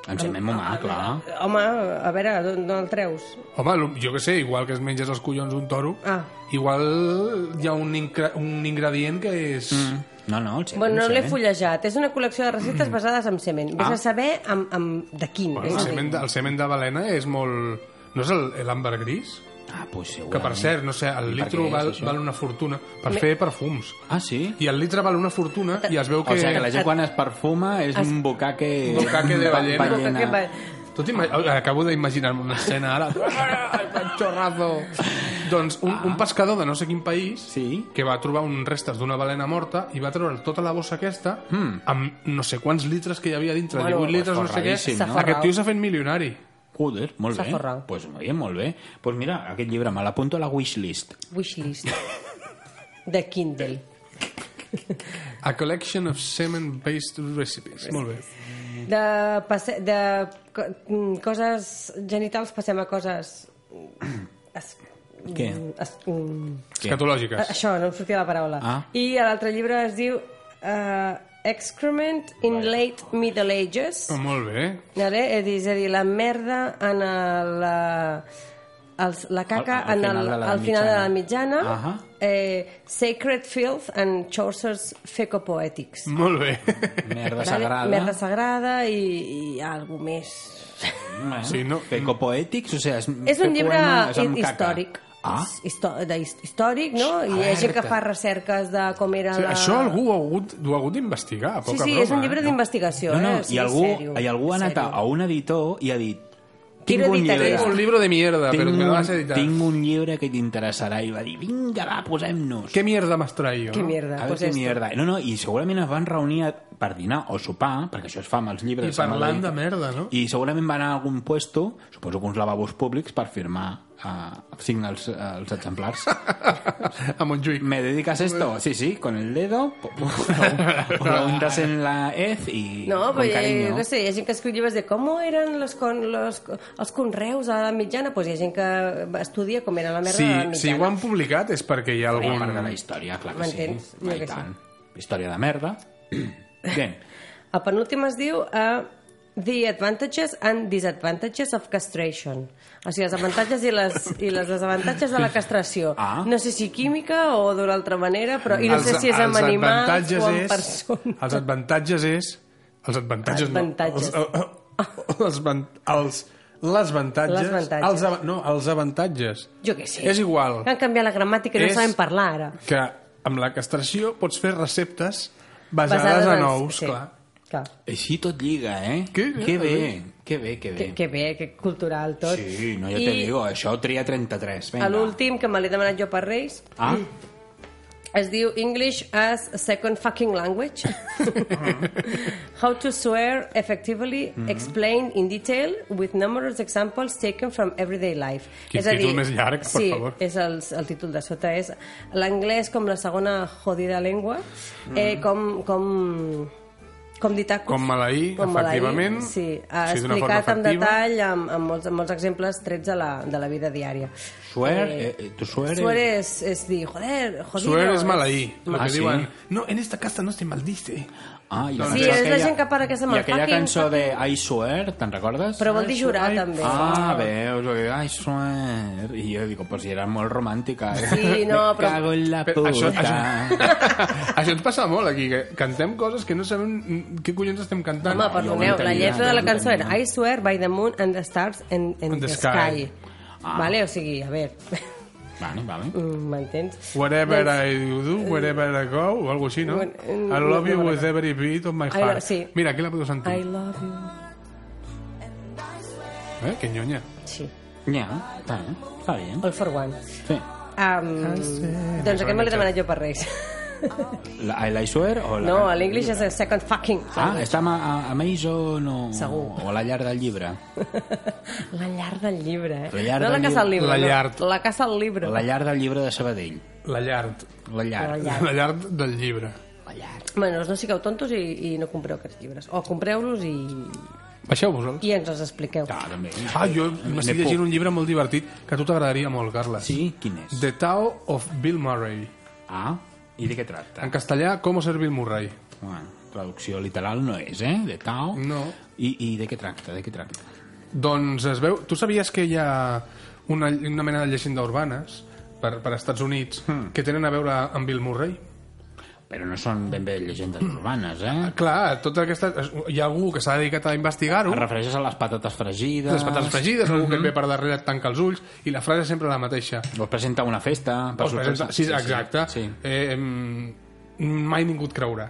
C: Em sembla molt
B: Ah.
C: mal, clar.
B: Home, a veure, d'on d'on el treus?
A: Home, lo- jo que sé, igual que es menges els collons un toro,
B: Ah.
A: igual hi ha un, incre- un ingredient que és... Mm.
C: No, no, el semen,
B: Bueno, no
C: el
B: l'he
C: semen. Mm.
B: fullejat. És una col·lecció de receptes basades en semen. Vés
C: Ah.
B: a saber amb, amb... de quin.
A: Bueno, el,
B: és a dir.
A: semen de, el semen de balena és molt... No és el- l'ambergris?
C: Ah, pues segurament.
A: Que, per cert, no sé, el
C: I per
A: litro
C: què
A: val,
C: és això?
A: val una fortuna per fer perfums.
C: Ah, sí?
A: I el litre val una fortuna i es veu que...
C: O sigui que la gent quan es perfuma és un bocaque...
A: Un bocaque de ballena.
B: Com que aquest va-
A: Tot ima... Acabo d'imaginar-me una escena ara. Ai, panxorrazo! Doncs un, un pescador de no sé quin país
C: Ah. Sí.
A: que va trobar un restes d'una balena morta i va treure tota la bossa aquesta
C: Hmm.
A: amb no sé quants litres que hi havia dintre,
B: Bueno,
A: 18 litres, no sé què.
C: forradíssim,
B: no?
A: Aquest tio s'ha fet milionari.
C: Joder, molt
B: S'ha
C: bé.
B: forrat.
C: Pues molt bé, molt bé. Pues mira, aquest llibre me l'apunto a la wishlist.
B: Wishlist. De Kindle.
A: A collection of semen-based recipes. Molt bé.
B: De, passe... de co- mm, coses genitals passem a coses... Es...
C: Què?
B: mm, Es... mm,
C: Què?
A: Escatològiques.
B: a- Això, no em sortia la paraula.
C: Ah.
B: I l'altre llibre es diu... Uh, Excrement in Late Middle Ages.
A: Oh, molt bé.
B: Vale? És a dir, la merda en el, la, els, la caca
C: Al-
B: en el,
C: al final de l'edat
B: al final de la mitjana.
C: mitjana. Ahà.
B: eh, Sacred Filth and Chaucer's Fecopoetics.
A: Molt bé.
C: Merda
B: Vale?
C: sagrada.
B: Merda sagrada i, i algú més.
C: sagrada.
A: Sí, no.
C: Fecopoètics, Eh? o sigui... És,
B: És un
C: Mm. fer
B: llibre
C: poema, és amb
B: hi-
C: caca.
B: històric.
C: Ah,
B: His- histo- de his- històric, no? I hi ha gent que
C: Alerta.
B: fa recerques de com era
A: Sí,
B: la...
A: això algú ho ha hagut, ho ha hagut d'investigar,
B: Ah. Sí,
A: poca
B: sí,
A: broma.
B: és un llibre
A: eh?
B: d'investigació.
C: no, no,
B: eh? O
C: i
B: sigui,
C: algú,
B: sèrio,
C: i algú ha anat a,
B: sèrio.
C: a un editor i ha dit...
B: Quiero
C: Tinc un
B: editar
C: llibre.
B: esto.
A: Un libro de mierda,
C: Tinc
A: però me lo
C: un-
A: vas a editar.
C: Tinc un llibre que t'interessarà. I va dir, vinga, va, posem-nos.
A: Què mierda m'has traído?
B: Que
A: no?
B: mierda,
C: A veure
B: pues
C: què
B: esto.
C: mierda. No, no, i segurament es van reunir a- per dinar o sopar, perquè això es fa amb els llibres.
A: I parlant
C: amb
A: de
C: el-
A: merda, no?
C: I segurament van anar a algun puesto, suposo que uns lavabos públics, per firmar, eh, signar els, eh, els exemplars.
A: A Montjuïc.
C: ¿Me dedicas esto? Sí, sí, con el dedo, po- po- lo- lo untas en la hez y
B: No,
C: con
B: però
C: cariño.
B: jo no sé, hi ha gent que escriu llibres de com eren los con, los, els conreus a la mitjana, doncs hi ha gent que estudia com era la merda
A: Si,
B: a la mitjana.
A: si ho han publicat és perquè hi ha
C: Forma
A: algun...
C: part de la història, clar que sí.
B: M'entens? Jo
C: Ah, i
B: que sí.
C: tant. Història de merda. Bien.
B: El penúltim es diu uh, The Advantages and Disadvantages of Castration. O sigui, els avantatges i les, i les desavantatges de la castració.
C: Ah.
B: No sé si química o d'una altra manera, però i no sé si és amb
A: els
B: animals
A: avantatges
B: o amb
A: és-
B: persones.
A: Els avantatges és... Els avantatges,
B: Avantatges.
A: no. Els, eh, eh, els, van- els, les avantatges...
B: Les avantatges. Ah.
A: Els, ava- no, els avantatges.
B: Jo què sé.
A: És igual.
B: Que han canviat la gramàtica i no
A: És-
B: saben parlar ara.
A: Que amb la castració pots fer receptes basades, en ous,
B: sí.
A: clar.
B: clar.
C: Així tot lliga, eh?
A: Que-
C: que bé, que bé, que bé.
B: Que, que bé, que cultural tot.
C: Sí, no, ja te
B: I
C: digo, això tria 33.
B: a
C: Vinga.
B: L'últim, que me l'he demanat jo per Reis,
C: Ah,
B: es diu English as a Second Fucking Language. How to swear effectively,
A: Mm-hmm.
B: explained in detail, with numerous examples taken from everyday life.
A: Quin títol més llarg, per
B: sí,
A: favor.
B: És el, el títol de sota és l'anglès com la segona jodida llengua, eh, com... com com dir
A: Mm-hmm.
B: tacos.
A: Com malaí,
B: Com malaí,
A: efectivament.
B: Sí, ha
A: Sí, d'una forma
B: explicat en
A: efectiva.
B: detall amb, amb, molts, amb molts exemples trets de la, de la vida diària.
C: suer, eh, eh, tu suer...
B: Suer es, es dir, joder, jodido.
A: Suer és malaí. El
C: Ah,
A: que
C: sí?
A: diuen, no, en esta casa no se maldice.
C: Ah, i
A: Sí,
C: cançó
B: és la gent que para que se
C: I
B: mal
C: aquella
B: fucking,
C: cançó de I swear, te'n recordes?
B: Però vol dir jurar,
A: Ai,
B: també.
C: Ah, veus, o que, I swear... I jo dic, pues si era molt romàntica. Eh?
B: Sí, no,
C: Me
B: però-
C: Cago en la
A: Però
C: puta.
A: això, això, això ens passa molt aquí, que cantem coses que no sabem mm, què collons estem cantant.
B: Home, perdoneu, la
C: entenia,
B: lletra de la
C: jo ho
B: cançó era
C: entenia.
B: I swear by the moon and the stars and, and
A: And the
B: the
A: sky.
B: sky. Ah. Vale, o sigui, a veure,
C: Vale, vale.
B: mm, m'entens?
A: Wherever
B: Doncs-
A: I do, wherever I go, o alguna així, no?
B: When-
A: I love you with every beat of my
B: I
A: heart.
B: lo- sí.
A: Mira, aquí la puedo
B: I
A: sentir.
B: love you.
A: Eh, que nyonya.
B: Sí,
C: Ja, està bé, està bé.
B: all for one.
C: Sí.
B: Um, doncs aquest me l'he demanat jo per Reis.
C: La, el I swear o la...
B: No, l'English is a second fucking.
C: Ah, està a, a, a Amazon o...
B: Segur.
C: O a la llar del llibre.
B: La llar del llibre, eh?
C: La llar
B: no la
C: del
B: casa del
C: llibre.
A: La
B: llibre. no.
A: llar.
B: La casa del
C: O
B: llibre.
C: la llar del llibre de Sabadell.
A: La llard.
C: La llar.
B: La llar.
A: La llard del llibre.
B: Bueno, no sigueu tontos i, i no compreu aquests llibres. O compreu-los i,
A: Baixeu-vos-el.
B: i ens els expliqueu.
A: Ah, jo m'estic llegint un llibre molt divertit que a tu t'agradaria molt, Carles.
C: Sí? Quin és?
A: The Tao of Bill Murray.
C: Ah, i de què tracta?
A: En castellà, com ser Bill Murray.
C: Bueno, traducció literal no és, eh? De Tao.
A: No.
C: I, I de què tracta? De què tracta?
A: Doncs es veu... Tu sabies que hi ha una, una mena de llegenda urbanes per, per Estats Units
C: Hmm.
A: que tenen a veure amb Bill Murray?
C: Però no són ben bé llegendes urbanes, eh?
A: Clar, tota aquesta... es- Hi ha algú que s'ha dedicat a investigar-ho,
C: Et refereixes a Ah, les patates fregides...
A: les patates fregides, algú
C: Mhm.
A: que et ve per darrere et tanca els ulls, i la frase és sempre la mateixa.
C: O es presenta a una festa... per
A: Us presenta...
C: sorpresa.
A: Sí, exacte.
C: Sí.
A: Eh, em, mai ningú et creurà.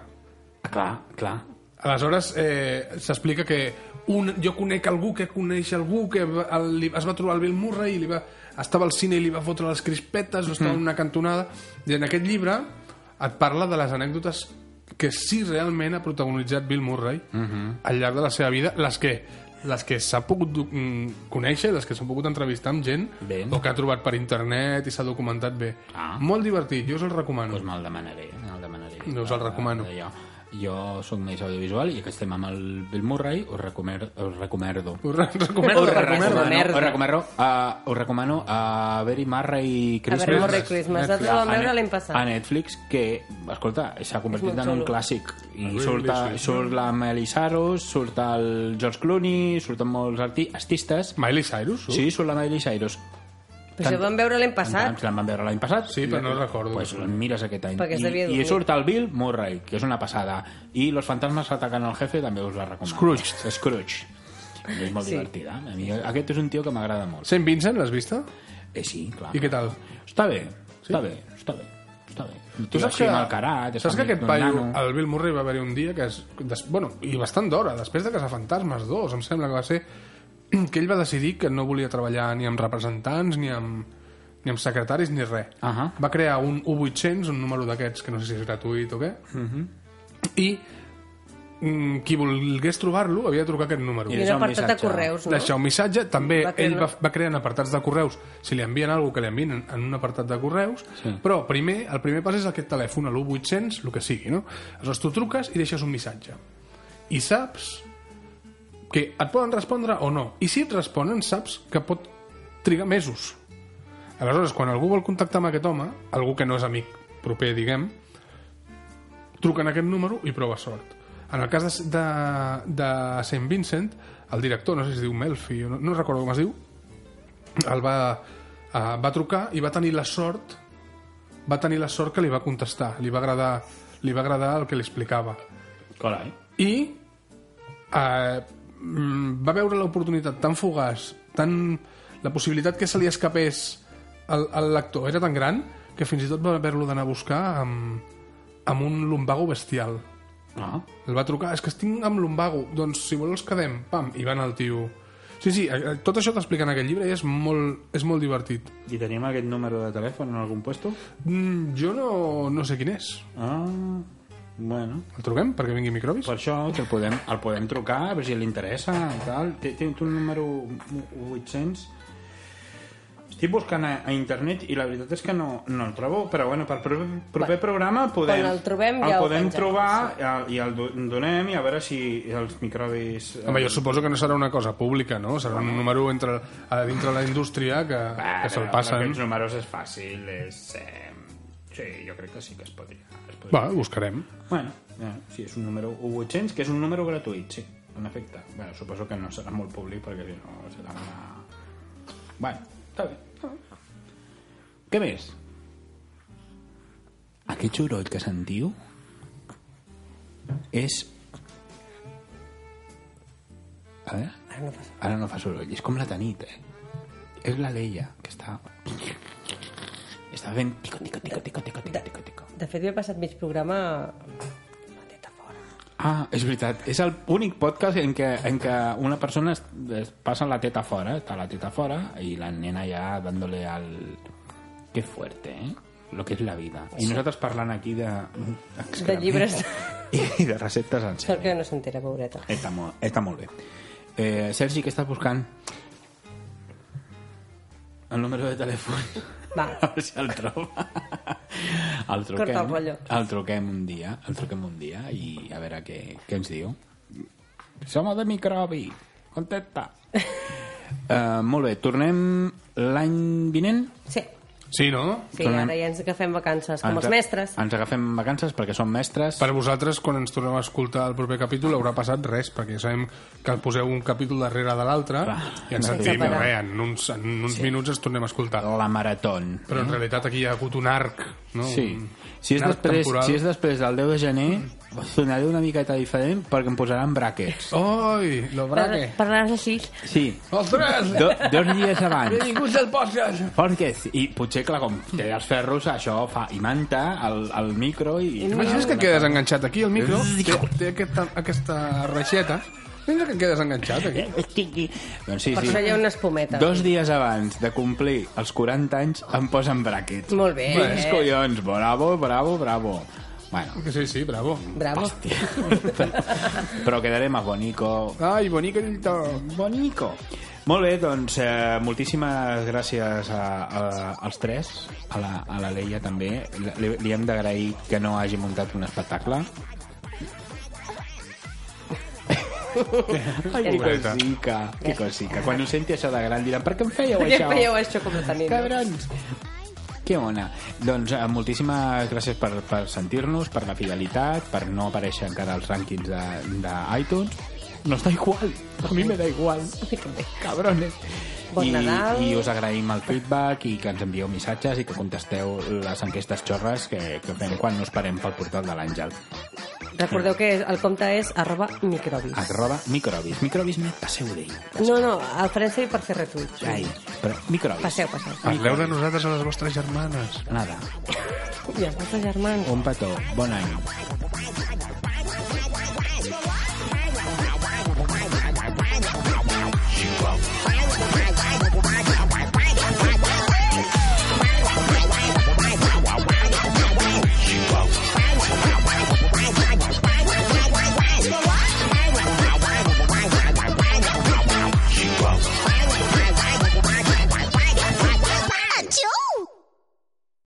C: Ah, clar, clar.
A: Aleshores, eh, s'explica que un, jo conec algú que coneix algú que va- el, li, es va trobar el Bill Murray i li va, estava al cine i li va fotre les crispetes o estava en
C: Mm.
A: una cantonada i en aquest llibre et parla de les anècdotes que sí realment ha protagonitzat Bill Murray
C: Mm-hmm.
A: al llarg de la seva vida, les que les que s'ha pogut do- mm, conèixer, les que s'han pogut entrevistar amb gent
C: Bé.
A: o que ha trobat per internet i s'ha documentat bé.
C: Ah.
A: Molt divertit, jo us el recomano.
C: Doncs me'l demanaré, me'l demanaré.
A: No us el recomano.
C: Jo, jo sóc més audiovisual i que estem amb el Bill Murray, us, recomer, us recomerdo.
A: Us re- recomano.
B: Us
A: Us
B: recomano.
A: recomano.
B: eh, merda.
C: Us recomano, uh, us recomano a Very Murray
B: A
C: Christmas.
B: veure, Merry Christmas. Nosaltres el vam veure l'any
C: A
B: passat.
C: Netflix, que, escolta, s'ha convertit
B: molt
C: en un
B: xulo.
C: clàssic. I
A: Really,
C: surt, a,
A: sí.
C: surt la Miley Cyrus, surt el George Clooney, surten molts arti- artistes.
A: Miley Cyrus? surt?
C: Sí, surt la Miley Cyrus.
B: Però això ho vam veure l'any passat.
C: Si la van veure l'any passat.
A: Sí, però no recordo.
C: Pues la mires aquest any.
B: Perquè s'havia
C: I, I
B: dormit.
C: surt el Bill Murray, que és una passada. I Los fantasmes ataquen al jefe, també us la recomano.
A: Scrooge.
C: Scrooge. És molt
B: Sí.
C: sí. divertida. A mi, aquest és un tio que m'agrada molt.
A: Saint Vincent, l'has vista?
C: Eh, sí, clar.
A: I què tal?
C: Està bé, està bé, està bé. Està bé. Un tio així malcarat, és
A: saps que
C: amic
A: aquest
C: d'un
A: paio,
C: nano.
A: el Bill Murray, va haver-hi un dia que es, des, bueno, i bastant d'hora, després de Cazafantasmes 2, em sembla que va ser, que ell va decidir que no volia treballar ni amb representants, ni amb, ni amb secretaris, ni res.
C: Ahà.
A: Va crear un U800, un número d'aquests, que no sé si és gratuït o què,
C: Mhm.
A: i mm, qui volgués trobar-lo havia de trucar aquest número.
B: I un
C: Deixar un
B: apartat de
C: missatge.
B: correus, no?
A: deixar un missatge. També
B: Va
A: va
B: crear-
A: ell va, va creant apartats de correus. Si li envien alguna que li envien en, en un apartat de correus, sí. però primer el primer pas és aquest telèfon, a l'1800, el que sigui, no? Aleshores tu truques i deixes un missatge. I saps que et poden respondre o no. I si et responen, saps que pot trigar mesos. Aleshores, quan algú vol contactar amb aquest home, algú que no és amic proper, diguem, truquen aquest número i prova sort. En el cas de, de, de Saint Vincent, el director, no sé si es diu Melfi, o no, no recordo com es diu, el va, eh, va trucar i va tenir la sort va tenir la sort que li va contestar, li va agradar, li va agradar el que li explicava.
C: Carai.
A: I eh, mm, va veure l'oportunitat tan fugaç, tan... la possibilitat que se li escapés al al lector era tan gran que fins i tot va haver-lo d'anar a buscar amb, amb un lumbago bestial.
C: Ah,
A: El va trucar, és que estic amb lumbago, doncs si vols quedem, pam, i va anar el tio. Sí, sí, eh, eh, tot això t'explica en aquest llibre i és molt, és molt divertit.
C: i tenim aquest número de telèfon en algun puesto?
A: Mm, jo no, no sé quin és.
C: Ah, bueno.
A: El truquem perquè vingui microbis?
C: Per això que el podem, el podem trucar, a veure si li interessa i tal. Té, té un número 800. Estic buscant a, a internet i la veritat és que no, no el trobo, però bueno, per proper, proper programa podem,
B: quan el trobem ja
C: el
B: ho
C: podem
B: pengem,
C: trobar i el, do- donem i a veure si els microbis... eh,
A: Home, jo suposo que no serà una cosa pública, no? Serà un número entre, a dintre la indústria que,
C: Va,
A: que se'l
C: però
A: passen.
C: Aquests números és fàcil, és... Eh, sí, jo crec que sí que es podria. Es podria.
A: Va, buscarem.
C: Bueno, eh, sí, és un número 800, que és un número gratuït, sí, en efecte. Bueno, suposo que no serà molt públic, perquè si no serà una... Bueno, està bé. està bé. Què més? Aquest soroll que sentiu és... A veure... Ara no fa soroll. Ara no fa soroll. És com la tanit, eh? És la Leia, que està... Està fent... Tico, tico, tico, tico, tico, tico, tico, tico.
B: De fet, jo he passat mig programa amb la teta fora.
C: Ah, és veritat. És el únic podcast en què, en què una persona es, es passa la teta fora, està la teta fora, i la nena ja dándole al... Que fuerte, eh? Lo que és la vida. I nosaltres parlant aquí de...
B: De llibres.
C: I de receptes en
B: Sort
C: sèrie.
B: que no s'entera, pobreta.
C: Està molt, està molt bé. Eh, Sergi, què estàs buscant? El número de telèfon.
B: Va.
C: A veure si el troba. El truquem.
B: Corta el rotllo.
C: El truquem un dia. El truquem un dia i a veure què, què ens diu. Som de microbi. Contenta. Uh, molt bé, tornem l'any vinent.
B: Sí,
A: Sí, no?
B: sí
C: Tornem.
B: ara ja ens agafem vacances, com els mestres.
C: Ens agafem vacances perquè som mestres.
A: Per vosaltres, quan ens tornem a escoltar el proper capítol, haurà passat res, perquè sabem que poseu un capítol darrere de l'altre
C: Clar.
A: i ens
C: Sense
A: sentim,
B: parar.
A: res, en uns, en uns minuts ens tornem a escoltar.
C: La maratón.
A: Però en realitat aquí hi ha hagut un arc, no?
C: Eh? Sí.
A: Un-
C: Si és,
A: un arc
C: després,
A: temporal.
C: si és després del 10 de gener, us donaré una miqueta diferent perquè em posaran brackets.
A: Oi, lo braque.
B: Parlaràs així.
C: Sí,
A: Ostres!
C: Do, dos dies abans.
A: Benvinguts al podcast!
C: Forquez, i potser, clar, com té els ferros, això fa i manta el, el micro i...
A: Imagines que et quedes enganxat aquí al micro, té, té aquesta, aquesta reixeta, pensa que et quedes enganxat aquí.
C: Doncs sí,
B: Per això hi
C: sí.
B: ha una espumeta.
C: Dos dies abans de complir els 40 anys em posen brackets.
B: Molt bé.
C: Eh. Els collons, bravo, bravo, bravo. Bueno,
A: Sí, sí, bravo.
B: Bravo.
C: però quedarem a bonico,
A: Ai, bonico lluitó.
C: Bonico. Molt bé, doncs eh, moltíssimes gràcies a, a, als tres, a la, a la Leia també. Li, li hem d'agrair que no hagi muntat un espectacle. Ai, que
A: pobreta.
C: cosica, que cosica. Quan ho senti això de gran diran, per què em fèieu
B: Ja
C: això?
B: fèieu això com a tenint.
C: Cabrons! Que ona. Doncs eh, moltíssimes gràcies per, per sentir-nos, per la fidelitat, per no aparèixer encara als rànquings de- d'iTunes. No està igual. A mi me da igual. Cabrones.
B: Bon
C: I,
B: Nadal.
C: I us agraïm el feedback i que ens envieu missatges i que contesteu les enquestes xorres que, que fem quan us parem pel portal de l'Àngel.
B: Recordeu que el compte és arroba microbis.
C: Arroba microbis. Microbis, me- passeu d'ell.
B: No, no, el França hi per fer retuits.
C: Ai, Ah. però microbis.
B: Passeu, passeu.
A: Parleu de nosaltres a les vostres germanes.
C: Nada.
B: I els vostres germans.
C: Un petó. Bon any.